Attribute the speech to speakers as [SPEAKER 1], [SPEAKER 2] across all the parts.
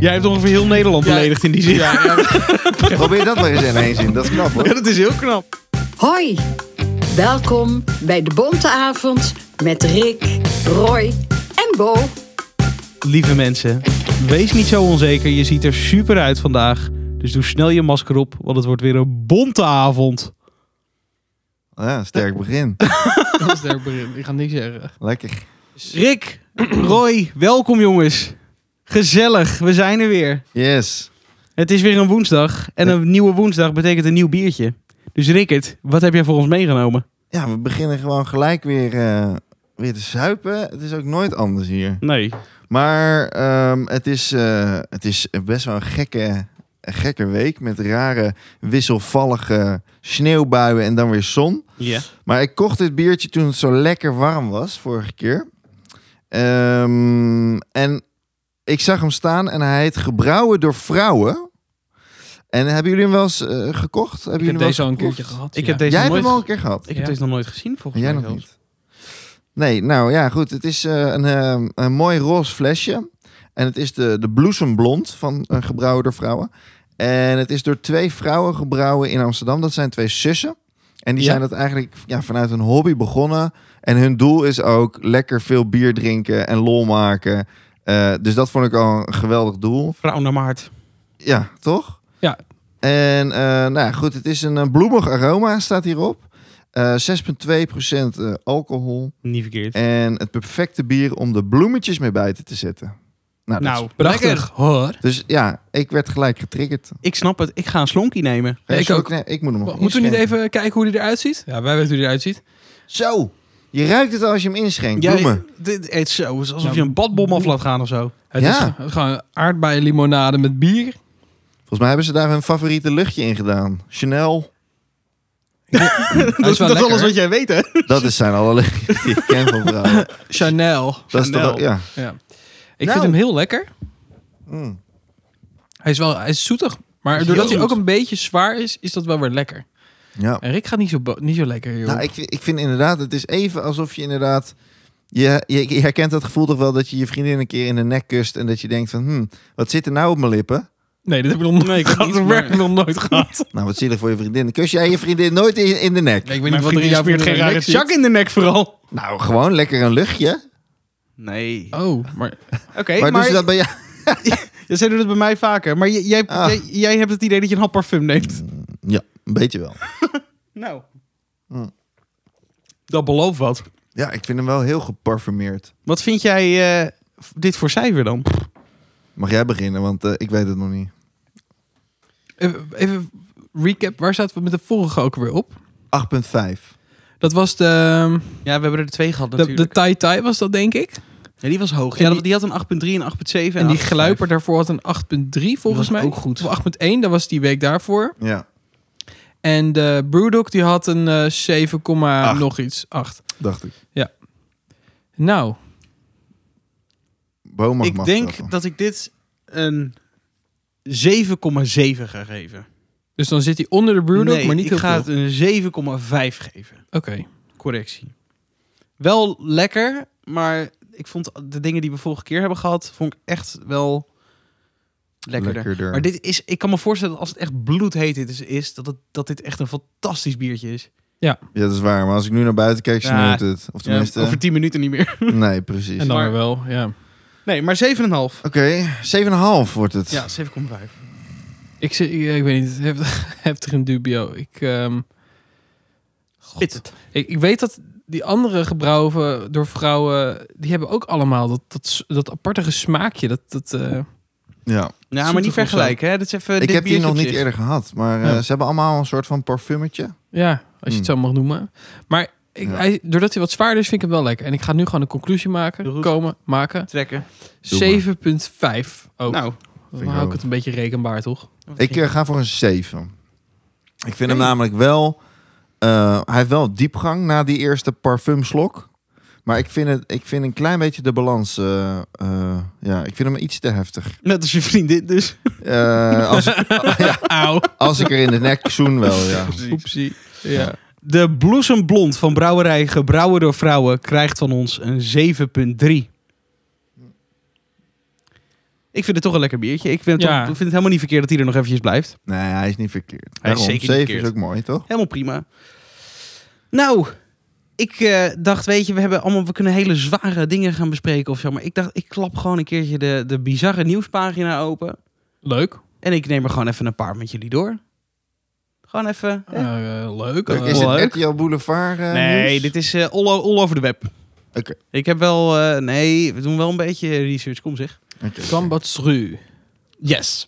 [SPEAKER 1] Jij hebt ongeveer heel Nederland
[SPEAKER 2] Ja.
[SPEAKER 1] beledigd in die zin. Ja,
[SPEAKER 3] Probeer dat maar eens in één zin. Dat is knap hoor.
[SPEAKER 1] dat is heel knap.
[SPEAKER 4] Hoi, welkom bij de Bonte Avond met Rick, Roy en Bo.
[SPEAKER 1] Lieve mensen, wees niet zo onzeker. Je ziet er super uit vandaag. Dus doe snel je masker op, want het wordt weer een bonte avond.
[SPEAKER 3] Ja, sterk begin.
[SPEAKER 2] Dat is sterk begin. Ik ga niks zeggen.
[SPEAKER 3] Lekker.
[SPEAKER 1] Rick, Roy, welkom jongens. Gezellig, we zijn er weer.
[SPEAKER 3] Yes.
[SPEAKER 1] Het is weer een woensdag en een nieuwe woensdag betekent een nieuw biertje. Dus Rickert, wat heb jij voor ons meegenomen?
[SPEAKER 3] Ja, we beginnen gewoon gelijk weer, eh, weer te zuipen. Het is ook nooit anders hier.
[SPEAKER 1] Nee.
[SPEAKER 3] Maar ehm, het, is, eh, het is best wel een gekke, een gekke week. Met rare, wisselvallige sneeuwbuien en dan weer zon.
[SPEAKER 1] Ja.
[SPEAKER 3] Maar ik kocht dit biertje toen het zo lekker warm was, vorige keer. Ehm, en ik zag hem staan en hij heet Gebrouwen door Vrouwen. En hebben jullie hem wel eens eh, gekocht? Hebben
[SPEAKER 2] Ik heb
[SPEAKER 3] jullie hem wel eens
[SPEAKER 2] deze al een
[SPEAKER 3] geproefd?
[SPEAKER 2] keertje gehad.
[SPEAKER 1] Ik
[SPEAKER 2] ja.
[SPEAKER 1] heb deze
[SPEAKER 3] Jij hebt
[SPEAKER 1] nog
[SPEAKER 3] hem al een
[SPEAKER 1] nooit,
[SPEAKER 3] keer gehad.
[SPEAKER 1] ik
[SPEAKER 2] Ja.
[SPEAKER 1] heb deze nog nooit gezien volgens
[SPEAKER 3] En jij
[SPEAKER 1] mij.
[SPEAKER 3] nog
[SPEAKER 1] zelfs.
[SPEAKER 3] niet. Nee, nou ja, goed. Het is eh, een, eh, een mooi roze flesje. En het is de, de bloesemblond van een gebrouwen door vrouwen. En het is door twee vrouwen gebrouwen in Amsterdam. Dat zijn twee zussen. En die
[SPEAKER 1] Ja.
[SPEAKER 3] zijn dat eigenlijk ja, vanuit hun hobby begonnen. En hun doel is ook lekker veel bier drinken en lol maken. Eh, dus dat vond ik al een geweldig doel.
[SPEAKER 1] Vrouw naar mijn hart.
[SPEAKER 3] Ja, toch?
[SPEAKER 2] Ja.
[SPEAKER 3] En eh, nou ja, goed, het is een eh, bloemig aroma, staat hierop. Eh 6,2% eh, alcohol.
[SPEAKER 1] Niet verkeerd.
[SPEAKER 3] En het perfecte bier om de bloemetjes mee buiten te zetten. Nou, dat
[SPEAKER 1] nou,
[SPEAKER 3] is-
[SPEAKER 2] Prachtig,
[SPEAKER 1] lekker.
[SPEAKER 2] hoor.
[SPEAKER 3] Dus ja, ik werd gelijk getriggerd.
[SPEAKER 1] Ik snap het. Ik ga een slonkie nemen.
[SPEAKER 3] Ga je
[SPEAKER 2] ik
[SPEAKER 3] zo
[SPEAKER 2] ook.
[SPEAKER 3] kne- ik moet hem nog
[SPEAKER 2] Moeten we niet
[SPEAKER 3] inschenken.
[SPEAKER 2] even kijken hoe die eruit ziet? Ja, wij weten hoe die eruit ziet.
[SPEAKER 3] Zo! Je ruikt het al als je hem inschenkt.
[SPEAKER 1] Jij-
[SPEAKER 3] Bloemen.
[SPEAKER 1] dit, het is zo, het is alsof
[SPEAKER 2] Nou,
[SPEAKER 1] je een badbom af laat gaan of zo.
[SPEAKER 2] Het
[SPEAKER 3] Ja.
[SPEAKER 2] is gewoon aardbeienlimonade met bier.
[SPEAKER 3] Volgens mij hebben ze daar hun favoriete luchtje in gedaan. Chanel.
[SPEAKER 2] Dat is wel lekker.
[SPEAKER 1] jij weet, hè?
[SPEAKER 3] Dat is zijn alle luchtjes die ik ken van vrouwen.
[SPEAKER 2] Chanel.
[SPEAKER 3] Dat is toch
[SPEAKER 1] Chanel.
[SPEAKER 3] ook- ja.
[SPEAKER 2] Ja. Ik
[SPEAKER 3] Nou.
[SPEAKER 2] vind hem heel lekker.
[SPEAKER 3] Mm.
[SPEAKER 2] Hij is wel hij is zoetig. Maar
[SPEAKER 1] Is
[SPEAKER 2] doordat
[SPEAKER 1] heel
[SPEAKER 2] hij ook
[SPEAKER 1] goed.
[SPEAKER 2] een beetje zwaar is, is dat wel weer lekker.
[SPEAKER 3] ja.
[SPEAKER 2] En Rick gaat niet zo, bo- niet zo lekker, joh.
[SPEAKER 3] Nou, ik, ik vind inderdaad, het is even alsof je inderdaad... Je, je, je herkent dat gevoel toch wel dat je je vriendin een keer in de nek kust... en dat je denkt van, hm, wat zit er nou op mijn lippen?
[SPEAKER 2] Nee, dat heb ik nog nooit
[SPEAKER 1] Nee, ik heb
[SPEAKER 2] gehad.
[SPEAKER 1] niet,
[SPEAKER 2] Dat werk
[SPEAKER 1] maar-
[SPEAKER 2] ik nog nooit gehad.
[SPEAKER 3] Nou, wat zielig voor je vriendin. Kus jij je vriendin nooit in, in de nek?
[SPEAKER 2] ik weet
[SPEAKER 1] Mijn
[SPEAKER 2] niet wat er in
[SPEAKER 1] vriendin
[SPEAKER 2] jouw
[SPEAKER 1] smeert geen rare chak in de nek vooral.
[SPEAKER 3] Nou, gewoon lekker een luchtje.
[SPEAKER 1] Nee.
[SPEAKER 2] Oh, maar
[SPEAKER 1] Oké, maar
[SPEAKER 3] maar, doen ze dat bij jou?
[SPEAKER 1] Ja, zij doen het bij mij vaker. Maar j- jij,
[SPEAKER 3] Ah.
[SPEAKER 1] jij, jij hebt het idee dat je een hap parfum neemt.
[SPEAKER 3] Ja, een beetje wel.
[SPEAKER 1] Nou.
[SPEAKER 3] Hm.
[SPEAKER 1] Dat belooft wat.
[SPEAKER 3] Ja, ik vind hem wel heel geparfumeerd.
[SPEAKER 1] Wat vind jij eh, f- dit voor cijfer dan?
[SPEAKER 3] Mag jij beginnen, want eh, ik weet het nog niet.
[SPEAKER 2] even, even recap. Waar zaten we met de vorige ook weer op?
[SPEAKER 3] 8,5.
[SPEAKER 2] Dat was de, ehm,
[SPEAKER 1] Ja, we hebben er twee gehad
[SPEAKER 2] de, de Tai Tai, was dat denk ik.
[SPEAKER 1] ja, die was hoog.
[SPEAKER 2] Ja,
[SPEAKER 1] Ja,
[SPEAKER 2] die-
[SPEAKER 1] die had een 8.3 en 8.7.
[SPEAKER 2] En die
[SPEAKER 1] 8.5.
[SPEAKER 2] gluiper daarvoor had een 8.3 volgens
[SPEAKER 1] was
[SPEAKER 2] mij.
[SPEAKER 1] ook goed.
[SPEAKER 2] Of 8.1, dat was die week daarvoor.
[SPEAKER 3] Ja,
[SPEAKER 2] En de Brewdog die had een eh 7,
[SPEAKER 3] Acht.
[SPEAKER 2] nog iets. 8.
[SPEAKER 3] dacht ik.
[SPEAKER 2] Nou,
[SPEAKER 3] Boom mag
[SPEAKER 1] Ik
[SPEAKER 3] mag
[SPEAKER 1] denk
[SPEAKER 3] trappen.
[SPEAKER 1] dat ik dit een 7,7 ga geven.
[SPEAKER 2] dus dan zit hij onder de Brewdog,
[SPEAKER 1] nee,
[SPEAKER 2] maar niet
[SPEAKER 1] ik
[SPEAKER 2] heel
[SPEAKER 1] ga
[SPEAKER 2] veel.
[SPEAKER 1] het een 7,5 geven.
[SPEAKER 2] Oké.
[SPEAKER 1] Correctie. Wel lekker, maar ik vond de dingen die we vorige keer hebben gehad, vond ik echt wel lekkerder.
[SPEAKER 3] lekkerder.
[SPEAKER 1] Maar dit is, ik kan me voorstellen dat als het echt bloedheet dit is, is dat, het, dat dit echt een fantastisch biertje is.
[SPEAKER 3] Ja, dat is waar. Maar als ik nu naar buiten kijk,
[SPEAKER 1] Ja.
[SPEAKER 3] sneeuwt het. Of tenminste...
[SPEAKER 1] over 10 minuten niet meer.
[SPEAKER 3] Nee, precies.
[SPEAKER 2] En dan
[SPEAKER 1] Maar-
[SPEAKER 2] weer wel, ja.
[SPEAKER 1] Nee, maar 7,5.
[SPEAKER 3] Oké, 7,5 wordt het.
[SPEAKER 1] Ja, 7,5.
[SPEAKER 2] Ik, zit- ik, ik weet niet, hef- heftig in dubio. Ik, ehm,
[SPEAKER 1] Spit het.
[SPEAKER 2] ik, ik weet dat die andere gebrouwen door vrouwen, die hebben ook allemaal dat, dat, s- dat apartige smaakje. Dat, dat, eh,
[SPEAKER 3] Ja.
[SPEAKER 1] Ja, maar
[SPEAKER 2] Zoetig
[SPEAKER 1] niet
[SPEAKER 2] of zo.
[SPEAKER 1] vergelijken. Hè? Dat is even
[SPEAKER 3] Ik
[SPEAKER 1] dit
[SPEAKER 3] heb die
[SPEAKER 1] biertje
[SPEAKER 3] nog
[SPEAKER 1] op
[SPEAKER 3] niet
[SPEAKER 1] zich.
[SPEAKER 3] eerder gehad. Maar eh,
[SPEAKER 2] Ja.
[SPEAKER 3] ze hebben allemaal een soort van parfummetje.
[SPEAKER 2] ja, als je het zo
[SPEAKER 3] Hmm.
[SPEAKER 2] mag noemen. Maar ik,
[SPEAKER 3] Ja.
[SPEAKER 2] hij- doordat hij wat zwaarder is, vind ik hem wel lekker. En ik ga nu gewoon een conclusie
[SPEAKER 1] Doe
[SPEAKER 2] maken.
[SPEAKER 1] goed.
[SPEAKER 2] Komen, maken.
[SPEAKER 1] trekken.
[SPEAKER 2] 7,5 ook.
[SPEAKER 1] Nou,
[SPEAKER 3] vind
[SPEAKER 2] dan
[SPEAKER 3] ik
[SPEAKER 2] hou
[SPEAKER 3] ook.
[SPEAKER 2] ik het een beetje rekenbaar, toch?
[SPEAKER 3] Ik eh, ga voor een 7. Ik vind hem namelijk wel... eh, hij heeft wel diepgang na die eerste parfumslok. Maar ik vind, het, ik vind een klein beetje de balans... eh, eh, ja, ik vind hem iets te heftig.
[SPEAKER 1] net als je vriendin dus.
[SPEAKER 3] Eh, als, ik- ja,
[SPEAKER 2] Auw.
[SPEAKER 3] als ik er in de nek zoen wel, ja.
[SPEAKER 2] Oepsie. Ja.
[SPEAKER 1] De Bloesemblond van Brouwerij Gebrouwen door Vrouwen krijgt van ons een 7,3. Ik vind het toch een lekker biertje. Ik vind het,
[SPEAKER 2] Ja.
[SPEAKER 1] toch- ik vind het helemaal niet verkeerd dat hij er nog eventjes blijft.
[SPEAKER 3] Nee, hij is niet verkeerd.
[SPEAKER 1] Hij is
[SPEAKER 3] Daarom,
[SPEAKER 1] zeker niet
[SPEAKER 3] zeven
[SPEAKER 1] verkeerd.
[SPEAKER 3] is ook mooi, toch?
[SPEAKER 1] Helemaal prima. Nou, ik eh, dacht, weet je, we, hebben allemaal, we kunnen hele zware dingen gaan bespreken of zo. Maar ik dacht, ik klap gewoon een keertje de, de bizarre nieuwspagina open.
[SPEAKER 2] Leuk.
[SPEAKER 1] En ik neem er gewoon even een paar met jullie door. Gewoon even. eh.
[SPEAKER 2] Eh, leuk.
[SPEAKER 3] Kijk,
[SPEAKER 2] eh,
[SPEAKER 3] Is
[SPEAKER 1] leuk.
[SPEAKER 3] het RTL Boulevard eh,
[SPEAKER 1] nee,
[SPEAKER 3] nieuws?
[SPEAKER 1] dit is eh, all, o- all over de web.
[SPEAKER 3] Oké.
[SPEAKER 1] Ik heb wel. eh, nee, we doen wel een beetje research. Kom zeg.
[SPEAKER 3] Oké.
[SPEAKER 2] Kambatstru.
[SPEAKER 1] Yes.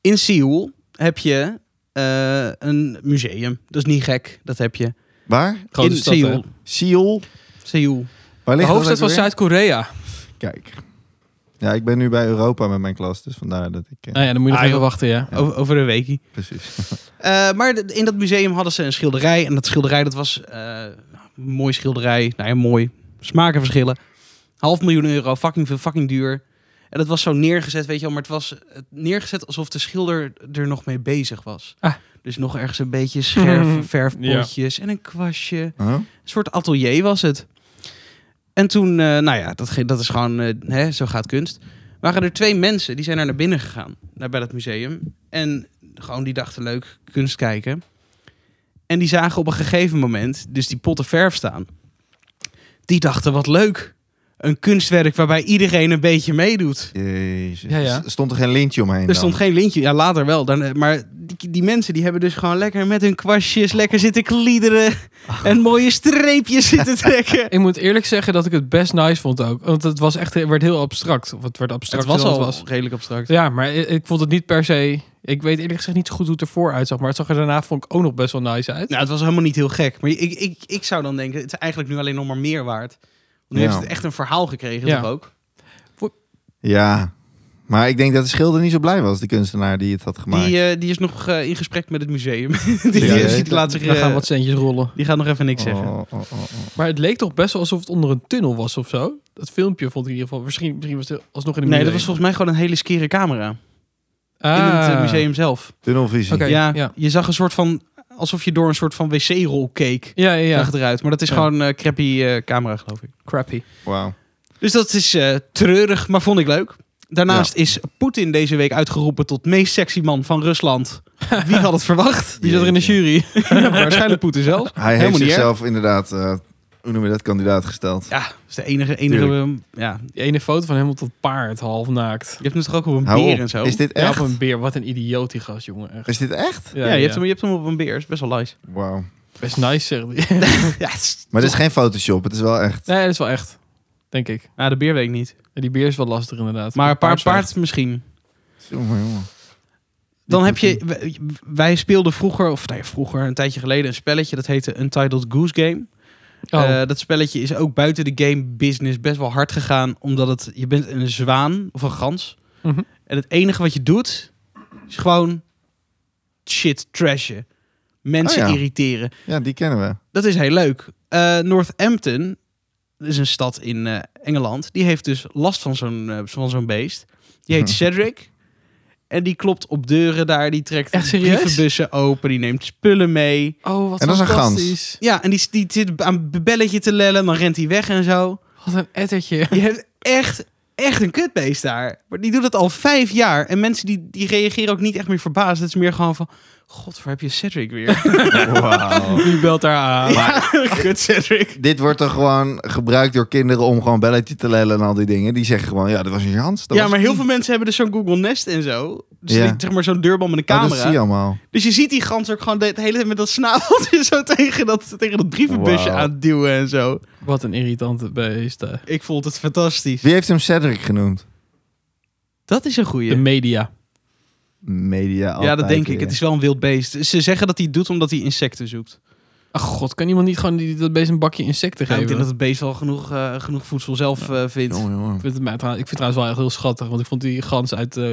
[SPEAKER 1] In Seoul heb je eh, een museum. Dat is niet gek. Dat heb je.
[SPEAKER 3] Waar?
[SPEAKER 2] Grote
[SPEAKER 1] in
[SPEAKER 2] stad, hè?
[SPEAKER 1] Seoul.
[SPEAKER 3] Seoul.
[SPEAKER 1] Seoul.
[SPEAKER 3] Waar
[SPEAKER 2] De
[SPEAKER 3] ligt dat
[SPEAKER 2] hoofdstad
[SPEAKER 3] ook
[SPEAKER 2] van
[SPEAKER 3] alweer?
[SPEAKER 2] Zuid-Korea.
[SPEAKER 3] Kijk. Ja, ik ben nu bij Europa met mijn klas, dus vandaar dat ik... eh,
[SPEAKER 2] Nou ja, dan moet je nog
[SPEAKER 1] Ah,
[SPEAKER 2] even
[SPEAKER 1] joh.
[SPEAKER 2] wachten, ja.
[SPEAKER 1] Over, over een weekie.
[SPEAKER 3] Precies.
[SPEAKER 1] Eh, maar de- in dat museum hadden ze een schilderij. En dat schilderij, dat was eh, nou, een mooi schilderij. Nou ja, mooi. Smaken verschillen. Half miljoen euro, fucking veel, fucking duur. En dat was zo neergezet, weet je wel. Maar het was eh, neergezet alsof de schilder er nog mee bezig was.
[SPEAKER 2] Ah.
[SPEAKER 1] Dus nog ergens een beetje scherf,
[SPEAKER 2] Mhm.
[SPEAKER 1] verfpotjes en een kwastje.
[SPEAKER 3] Huh?
[SPEAKER 1] Een soort atelier was het. En toen, eh, nou ja, dat, ge- dat is gewoon, eh, hè, zo gaat kunst. Waren er twee mensen, die zijn daar naar binnen gegaan, naar bij dat museum. En gewoon die dachten, leuk, kunst kijken. En die zagen op een gegeven moment dus die potten verf staan. Die dachten, wat leuk. Een kunstwerk waarbij iedereen een beetje meedoet.
[SPEAKER 3] Jezus.
[SPEAKER 2] Ja, ja.
[SPEAKER 3] S- Stond er geen lintje omheen
[SPEAKER 1] Er stond geen lintje, ja later wel. Daarna- maar die, die mensen die hebben dus gewoon lekker met hun kwastjes... lekker zitten kliederen en mooie streepjes zitten trekken.
[SPEAKER 2] Ik moet eerlijk zeggen dat ik het best nice vond ook. Want het was echt, het werd heel abstract. Of het werd abstract.
[SPEAKER 1] redelijk abstract.
[SPEAKER 2] Ja, maar ik, ik vond het niet per se... Ik weet eerlijk gezegd niet zo goed hoe het ervoor uitzag. Maar het zag er daarna vond ik ook nog best wel nice uit.
[SPEAKER 1] Nou, het was helemaal niet heel gek. Maar ik, ik, ik zou dan denken, het is eigenlijk nu alleen nog maar meer waard. Nu
[SPEAKER 3] Ja.
[SPEAKER 1] heeft het echt een verhaal gekregen,
[SPEAKER 2] Ja.
[SPEAKER 1] toch ook?
[SPEAKER 3] Ja. Maar ik denk dat de schilder niet zo blij was, de kunstenaar die het had gemaakt.
[SPEAKER 1] Die, eh, die is nog eh, in gesprek met het museum. die, die,
[SPEAKER 3] Ja,
[SPEAKER 1] die
[SPEAKER 3] ja.
[SPEAKER 1] laat zich,
[SPEAKER 2] Daar
[SPEAKER 1] eh,
[SPEAKER 2] gaan wat centjes rollen.
[SPEAKER 1] die gaat nog even niks zeggen.
[SPEAKER 3] Oh, oh, oh, oh.
[SPEAKER 2] Maar het leek toch best wel alsof het onder een tunnel was of zo. Dat filmpje vond ik in ieder geval. Misschien, misschien was het alsnog in een
[SPEAKER 1] Nee, dat
[SPEAKER 2] museum.
[SPEAKER 1] was volgens mij gewoon een hele skere camera.
[SPEAKER 2] Ah.
[SPEAKER 1] In het eh, museum zelf.
[SPEAKER 3] Tunnelvisie.
[SPEAKER 2] Oké.
[SPEAKER 1] ja,
[SPEAKER 2] ja.
[SPEAKER 1] je zag een soort van... Alsof je door een soort van wc-rol keek.
[SPEAKER 2] Ja, ja, ja.
[SPEAKER 1] Zag het eruit. Maar dat is
[SPEAKER 2] Ja.
[SPEAKER 1] gewoon eh crappy eh, camera, geloof ik.
[SPEAKER 2] Crappy.
[SPEAKER 3] Wauw.
[SPEAKER 1] Dus dat is eh, treurig, maar vond ik leuk. Daarnaast is Poetin deze week uitgeroepen tot meest sexy man van Rusland. Wie had het verwacht?
[SPEAKER 2] Die zat er in de
[SPEAKER 3] Jeetje.
[SPEAKER 2] jury.
[SPEAKER 1] Ja, waarschijnlijk Poetin zelf.
[SPEAKER 3] Hij
[SPEAKER 1] Helemaal
[SPEAKER 3] heeft
[SPEAKER 1] niet erg.
[SPEAKER 3] zichzelf inderdaad, eh, hoe noem je dat, kandidaat gesteld.
[SPEAKER 1] Ja, dat is de enige, enige eh, ja.
[SPEAKER 2] Die ene foto van hem op dat paard, half naakt.
[SPEAKER 1] Je hebt hem toch ook op een
[SPEAKER 3] Hou
[SPEAKER 1] beer
[SPEAKER 3] op.
[SPEAKER 1] en zo?
[SPEAKER 3] Is dit
[SPEAKER 2] Ja,
[SPEAKER 3] echt?
[SPEAKER 2] op een beer. Wat een idioot die gast, jongen. Echt.
[SPEAKER 3] Is dit echt?
[SPEAKER 1] ja, je, Hebt hem, je hebt hem op een beer. is best wel lies.
[SPEAKER 3] Wauw.
[SPEAKER 2] Best nice, zegt hij.
[SPEAKER 1] ja, het is-
[SPEAKER 3] Maar dit is geen Photoshop, het is wel echt.
[SPEAKER 2] nee, dat is wel echt. Denk ik.
[SPEAKER 1] nou, de beer weet ik niet.
[SPEAKER 2] Ja, die beer is wel lastig inderdaad.
[SPEAKER 1] Maar een paar
[SPEAKER 2] is wel
[SPEAKER 1] paard misschien.
[SPEAKER 3] Jongen, jongen.
[SPEAKER 1] Dan heb je... wij- Wij speelden vroeger, of nee, vroeger, een tijdje geleden... een spelletje dat heette Untitled Goose Game.
[SPEAKER 2] echt- Oh,
[SPEAKER 1] Eh, dat spelletje is ook buiten de game business best wel hard gegaan. Omdat het, je bent een zwaan of een gans.
[SPEAKER 2] Mhm.
[SPEAKER 1] En het enige wat je doet, is gewoon shit trashen. Mensen
[SPEAKER 3] Oh ja.
[SPEAKER 1] irriteren.
[SPEAKER 3] Ja, die kennen we.
[SPEAKER 1] Dat is heel leuk. Eh, Northampton, dat is een stad in eh, Engeland. Die heeft dus last van zo'n eh, van zo'n beest. Die heet
[SPEAKER 3] Mhm.
[SPEAKER 1] Cedric. En die klopt op deuren daar. Die trekt
[SPEAKER 2] Echt serieus?
[SPEAKER 1] brievenbussen open. Die neemt spullen mee.
[SPEAKER 2] oh wat
[SPEAKER 3] en dat is een gans.
[SPEAKER 2] fantastisch.
[SPEAKER 1] Ja, en die, die zit aan een belletje te lellen. Dan rent hij weg en zo.
[SPEAKER 2] Wat een ettertje.
[SPEAKER 1] Je hebt echt, echt een kutbeest daar. Maar die doet het al vijf jaar. En mensen die, die reageren ook niet echt meer verbaasd. Het is meer gewoon van... God, waar heb je Cedric weer?
[SPEAKER 3] Wauw.
[SPEAKER 2] Wie belt daar aan?
[SPEAKER 1] Kut Cedric.
[SPEAKER 3] dit wordt dan gewoon gebruikt door kinderen om gewoon belletje te lellen en al die dingen. Die zeggen gewoon, ja, dat was een Jans. dat
[SPEAKER 1] Ja,
[SPEAKER 3] was
[SPEAKER 1] maar heel
[SPEAKER 3] die.
[SPEAKER 1] veel mensen hebben dus zo'n Google Nest en zo. Dus
[SPEAKER 3] Ja.
[SPEAKER 1] die- zeg maar zo'n deurbal met een
[SPEAKER 3] Oh, dat zie je
[SPEAKER 1] camera.
[SPEAKER 3] allemaal.
[SPEAKER 1] dus je ziet die gans ook gewoon de, de hele tijd met dat snaveltje zo tegen dat, tegen dat brievenbusje
[SPEAKER 3] Wauw.
[SPEAKER 1] aan het duwen en zo.
[SPEAKER 2] Wat een irritante beest. eh.
[SPEAKER 1] Ik vond het fantastisch.
[SPEAKER 3] Wie heeft hem Cedric genoemd?
[SPEAKER 1] Dat is een
[SPEAKER 2] De
[SPEAKER 1] goeie.
[SPEAKER 2] media.
[SPEAKER 3] Media
[SPEAKER 1] Ja, dat
[SPEAKER 3] altijd
[SPEAKER 1] denk ik.
[SPEAKER 3] weer.
[SPEAKER 1] Het is wel een wild beest. Ze zeggen dat hij doet omdat hij insecten zoekt.
[SPEAKER 2] Ach god, kan iemand niet gewoon die, dat beest een bakje insecten
[SPEAKER 1] Ja,
[SPEAKER 2] geven?
[SPEAKER 1] ik denk dat het beest wel genoeg, eh, genoeg voedsel zelf eh, vindt.
[SPEAKER 3] Jongen, jongen.
[SPEAKER 2] Ik vind, het, mij trouw- ik vind het trouwens wel echt heel schattig, want ik vond die gans uit eh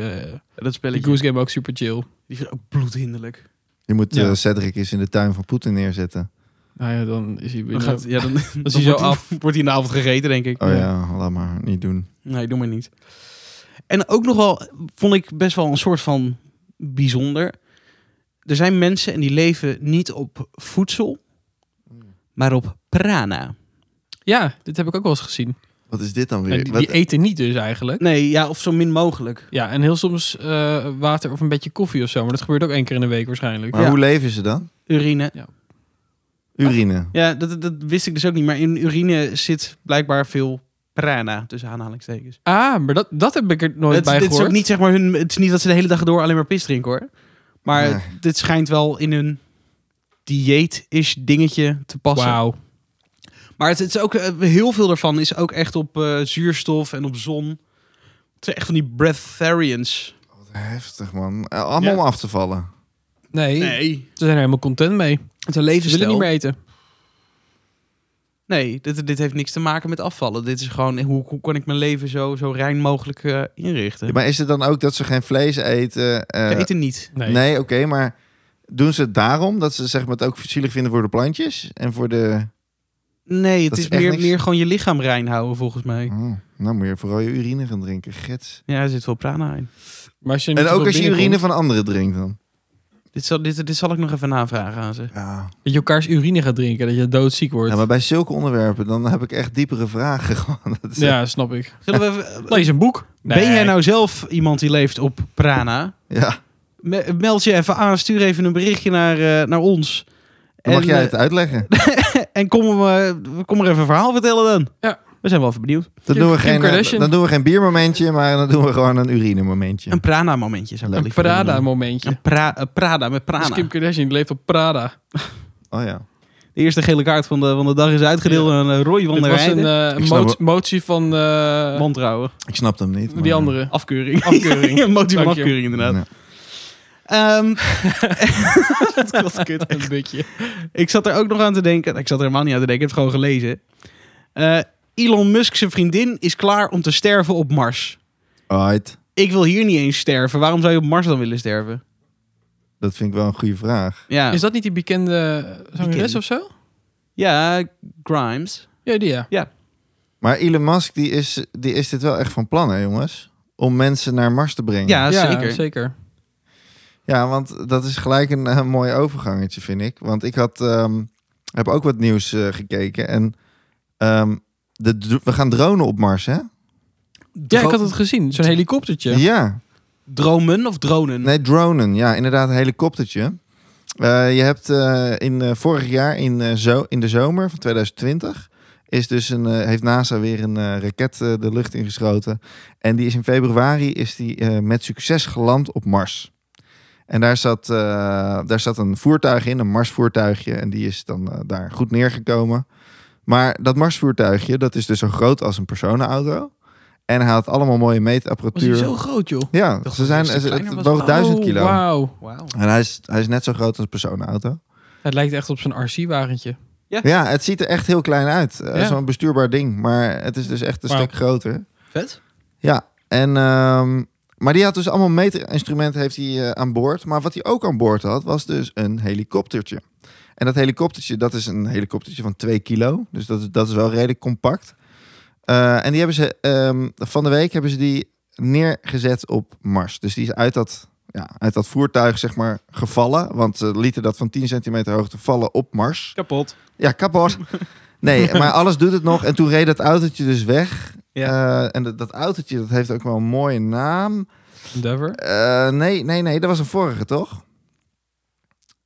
[SPEAKER 1] Dat
[SPEAKER 2] die
[SPEAKER 1] spelletje.
[SPEAKER 2] Goose Game ook super chill.
[SPEAKER 1] Die vindt ook bloedhinderlijk.
[SPEAKER 3] Je moet
[SPEAKER 2] Ja.
[SPEAKER 3] eh, Cedric eens in de tuin van Poetin neerzetten.
[SPEAKER 2] Nou ja, dan is hij weer...
[SPEAKER 1] Dan gaat, ja, dan, dan
[SPEAKER 2] hij zo
[SPEAKER 1] wordt
[SPEAKER 2] af.
[SPEAKER 1] Wordt hij in de avond gegeten, denk ik.
[SPEAKER 3] Oh ja.
[SPEAKER 2] Ja.
[SPEAKER 3] laat maar. Niet doen.
[SPEAKER 1] Nee, doe maar niet. En ook nog wel, vond ik best wel een soort van bijzonder. Er zijn mensen en die leven niet op voedsel, maar op prana.
[SPEAKER 2] ja, dit heb ik ook wel eens gezien.
[SPEAKER 3] Wat is dit dan weer?
[SPEAKER 2] En die,
[SPEAKER 3] Wat-
[SPEAKER 2] die eten niet dus eigenlijk.
[SPEAKER 1] Nee, ja, of zo min mogelijk.
[SPEAKER 2] Ja, en heel soms eh, water of een beetje koffie of zo. Maar dat gebeurt ook één keer in de week waarschijnlijk.
[SPEAKER 3] maar
[SPEAKER 1] ja.
[SPEAKER 3] hoe leven ze dan?
[SPEAKER 1] Urine.
[SPEAKER 3] Urine.
[SPEAKER 1] Ja, dat, dat wist ik dus ook niet. Maar in urine zit blijkbaar veel prana, tussen aanhalingstekens.
[SPEAKER 2] Ah, maar dat, dat heb ik er nooit
[SPEAKER 1] Het,
[SPEAKER 2] bij
[SPEAKER 1] dit
[SPEAKER 2] gehoord.
[SPEAKER 1] is ook niet, zeg maar, hun, het is niet dat ze de hele dag door alleen maar pis drinken, hoor. Maar
[SPEAKER 3] Nee.
[SPEAKER 1] dit schijnt wel in hun dieet-ish dingetje te passen.
[SPEAKER 2] Wauw.
[SPEAKER 1] Maar het, het is ook, eh, heel veel daarvan is ook echt op eh, zuurstof en op zon. Het zijn echt van die breatharians.
[SPEAKER 3] Wat heftig, man. Eh, Allemaal om af te vallen.
[SPEAKER 2] Nee,
[SPEAKER 1] Nee.
[SPEAKER 2] ze zijn er helemaal content mee.
[SPEAKER 1] Het is een
[SPEAKER 2] Ze willen
[SPEAKER 1] levensstijl.
[SPEAKER 2] niet meer eten.
[SPEAKER 1] Nee, dit, dit heeft niks te maken met afvallen. Dit is gewoon, hoe, hoe kan ik mijn leven zo, zo rein mogelijk eh, inrichten?
[SPEAKER 3] Ja, maar is het dan ook dat ze geen vlees eten? eh,
[SPEAKER 1] Ze eten niet.
[SPEAKER 2] Nee.
[SPEAKER 3] nee, oké, maar doen ze het daarom? Dat ze zeg maar, het ook zielig vinden voor de plantjes? En voor de...
[SPEAKER 1] Nee, het
[SPEAKER 3] Dat
[SPEAKER 1] is,
[SPEAKER 3] is echt
[SPEAKER 1] meer,
[SPEAKER 3] niks.
[SPEAKER 1] meer gewoon je lichaam rein houden, volgens mij.
[SPEAKER 3] Oh, nou moet je vooral je urine gaan drinken, gids.
[SPEAKER 1] Ja, er zit veel prana in.
[SPEAKER 2] Maar als je niet
[SPEAKER 3] En ook
[SPEAKER 2] zoveel
[SPEAKER 3] als je urine
[SPEAKER 2] binnenkomt,
[SPEAKER 3] van anderen drinkt dan?
[SPEAKER 1] Dit zal, dit, dit zal ik nog even navragen aan ze.
[SPEAKER 3] Ja.
[SPEAKER 2] Dat je elkaars urine gaat drinken, dat je doodziek wordt.
[SPEAKER 3] ja,
[SPEAKER 2] Ja,
[SPEAKER 3] maar bij zulke onderwerpen dan heb ik echt diepere vragen. gewoon. Dat is-
[SPEAKER 2] snap ik.
[SPEAKER 1] Zullen we even- eh,
[SPEAKER 2] Lees een boek. Nee.
[SPEAKER 1] Ben jij nou zelf iemand die leeft op prana?
[SPEAKER 3] ja.
[SPEAKER 1] Me- meld je even aan, stuur even een berichtje naar, eh, naar ons.
[SPEAKER 3] Dan mag
[SPEAKER 1] En,
[SPEAKER 3] jij
[SPEAKER 1] eh,
[SPEAKER 3] het uitleggen.
[SPEAKER 1] En kom, hem, eh, kom er even een verhaal vertellen dan.
[SPEAKER 2] Ja.
[SPEAKER 1] We zijn wel even benieuwd.
[SPEAKER 3] Dan
[SPEAKER 2] Kim-
[SPEAKER 3] doen, we
[SPEAKER 2] Kim
[SPEAKER 3] geen, eh,
[SPEAKER 2] Kardashian.
[SPEAKER 3] dan doen we geen biermomentje, maar dan doen we gewoon een urine-momentje.
[SPEAKER 1] Een prana-momentje zou ik wel
[SPEAKER 3] Leuk.
[SPEAKER 1] liever
[SPEAKER 2] Een
[SPEAKER 1] willen doen.
[SPEAKER 2] Prada-momentje.
[SPEAKER 1] Een pra- eh, prada met
[SPEAKER 2] Dus
[SPEAKER 1] prana.
[SPEAKER 2] Kim Kardashian leeft op Prada.
[SPEAKER 3] Oh ja.
[SPEAKER 1] De eerste gele kaart van de, van de dag is uitgedeeld aan eh, Roy van
[SPEAKER 2] Het
[SPEAKER 1] der
[SPEAKER 2] was een
[SPEAKER 1] Heijden.
[SPEAKER 2] eh,
[SPEAKER 3] Ik snap
[SPEAKER 2] mot-
[SPEAKER 3] het.
[SPEAKER 2] motie van eh,
[SPEAKER 1] Wantrouwen.
[SPEAKER 3] Ik snap hem niet. maar-
[SPEAKER 2] die andere.
[SPEAKER 1] Afkeuring.
[SPEAKER 2] Afkeuring.
[SPEAKER 1] Een motie van
[SPEAKER 2] Dank je.
[SPEAKER 1] afkeuring, inderdaad.
[SPEAKER 3] Ja.
[SPEAKER 1] Ehm, dat was kut.
[SPEAKER 2] Een beetje.
[SPEAKER 1] Ik zat er ook nog aan te denken. Ik zat er helemaal niet aan te denken. Ik heb het gewoon gelezen. Eh, Elon Musk zijn vriendin is klaar om te sterven op Mars.
[SPEAKER 3] Alright.
[SPEAKER 1] Ik wil hier niet eens sterven. Waarom zou je op Mars dan willen sterven?
[SPEAKER 3] Dat vind ik wel een goede vraag.
[SPEAKER 1] Ja,
[SPEAKER 2] Is dat niet die bekende zangeres
[SPEAKER 1] Bekende.
[SPEAKER 2] of zo?
[SPEAKER 1] ja Grimes.
[SPEAKER 2] Ja, die ja.
[SPEAKER 3] Maar Elon Musk, die is, die is dit wel echt van plan, hè, jongens? Om mensen naar Mars te brengen.
[SPEAKER 1] Ja,
[SPEAKER 2] ja
[SPEAKER 1] zeker.
[SPEAKER 3] Ja, want dat is gelijk een eh, mooi overgangetje, vind ik. Want ik had, ehm, heb ook wat nieuws eh, gekeken. En ehm, de, dro- we gaan dronen op Mars, hè?
[SPEAKER 2] Ja, ik had het gezien. Zo'n helikoptertje.
[SPEAKER 3] ja.
[SPEAKER 1] Dromen of dronen?
[SPEAKER 3] Nee, dronen. Ja, inderdaad, een helikoptertje. Eh, je hebt eh, in eh, vorig jaar in, eh, zo, in de zomer van 2020 is dus een, eh, heeft NASA weer een eh, raket eh, de lucht ingeschoten. En die is in februari is die, eh, met succes geland op Mars. En daar zat, eh, daar zat een voertuig in, een Marsvoertuigje. En die is dan eh, daar goed neergekomen. Maar dat Marsvoertuigje, dat is dus zo groot als een personenauto. En hij had allemaal mooie
[SPEAKER 2] Was die
[SPEAKER 3] meetapparatuur.
[SPEAKER 2] zo groot, joh?
[SPEAKER 3] Ja,
[SPEAKER 1] dacht
[SPEAKER 3] ze
[SPEAKER 1] dat
[SPEAKER 3] zijn,
[SPEAKER 1] het een stuk
[SPEAKER 3] het,
[SPEAKER 1] kleiner
[SPEAKER 3] het
[SPEAKER 1] was.
[SPEAKER 3] woog 1000
[SPEAKER 2] Oh,
[SPEAKER 3] kilo.
[SPEAKER 2] Wauw.
[SPEAKER 1] Wauw.
[SPEAKER 3] En hij is, hij is net zo groot als een personenauto.
[SPEAKER 2] Het lijkt echt op zo'n RC-wagentje.
[SPEAKER 3] Ja, het ziet er echt heel klein uit. Eh,
[SPEAKER 2] Ja.
[SPEAKER 3] Zo'n bestuurbaar ding. Maar het is dus echt een
[SPEAKER 2] Wauw.
[SPEAKER 3] stuk groter.
[SPEAKER 1] Vet.
[SPEAKER 3] Ja, en, ehm, maar die had dus allemaal meeterinstrumenten heeft hij, eh, aan boord. Maar wat hij ook aan boord had, was dus een helikoptertje. En dat helikoptertje, dat is een helikoptertje van 2 kilo. Dus dat, is- dat is wel redelijk compact. Eh, en die hebben ze, ehm, van de week hebben ze die neergezet op Mars. Dus die is uit dat, ja, uit dat voertuig, zeg maar, gevallen. Want ze lieten dat van 10 centimeter hoogte vallen op Mars.
[SPEAKER 1] Kapot.
[SPEAKER 3] Ja, kapot. Nee, maar alles doet het nog. En toen reed dat autootje dus weg. Eh, en dat, dat autootje, dat heeft ook wel een mooie naam.
[SPEAKER 2] Endeavor.
[SPEAKER 3] Eh, nee, nee, nee, dat was een vorige, toch?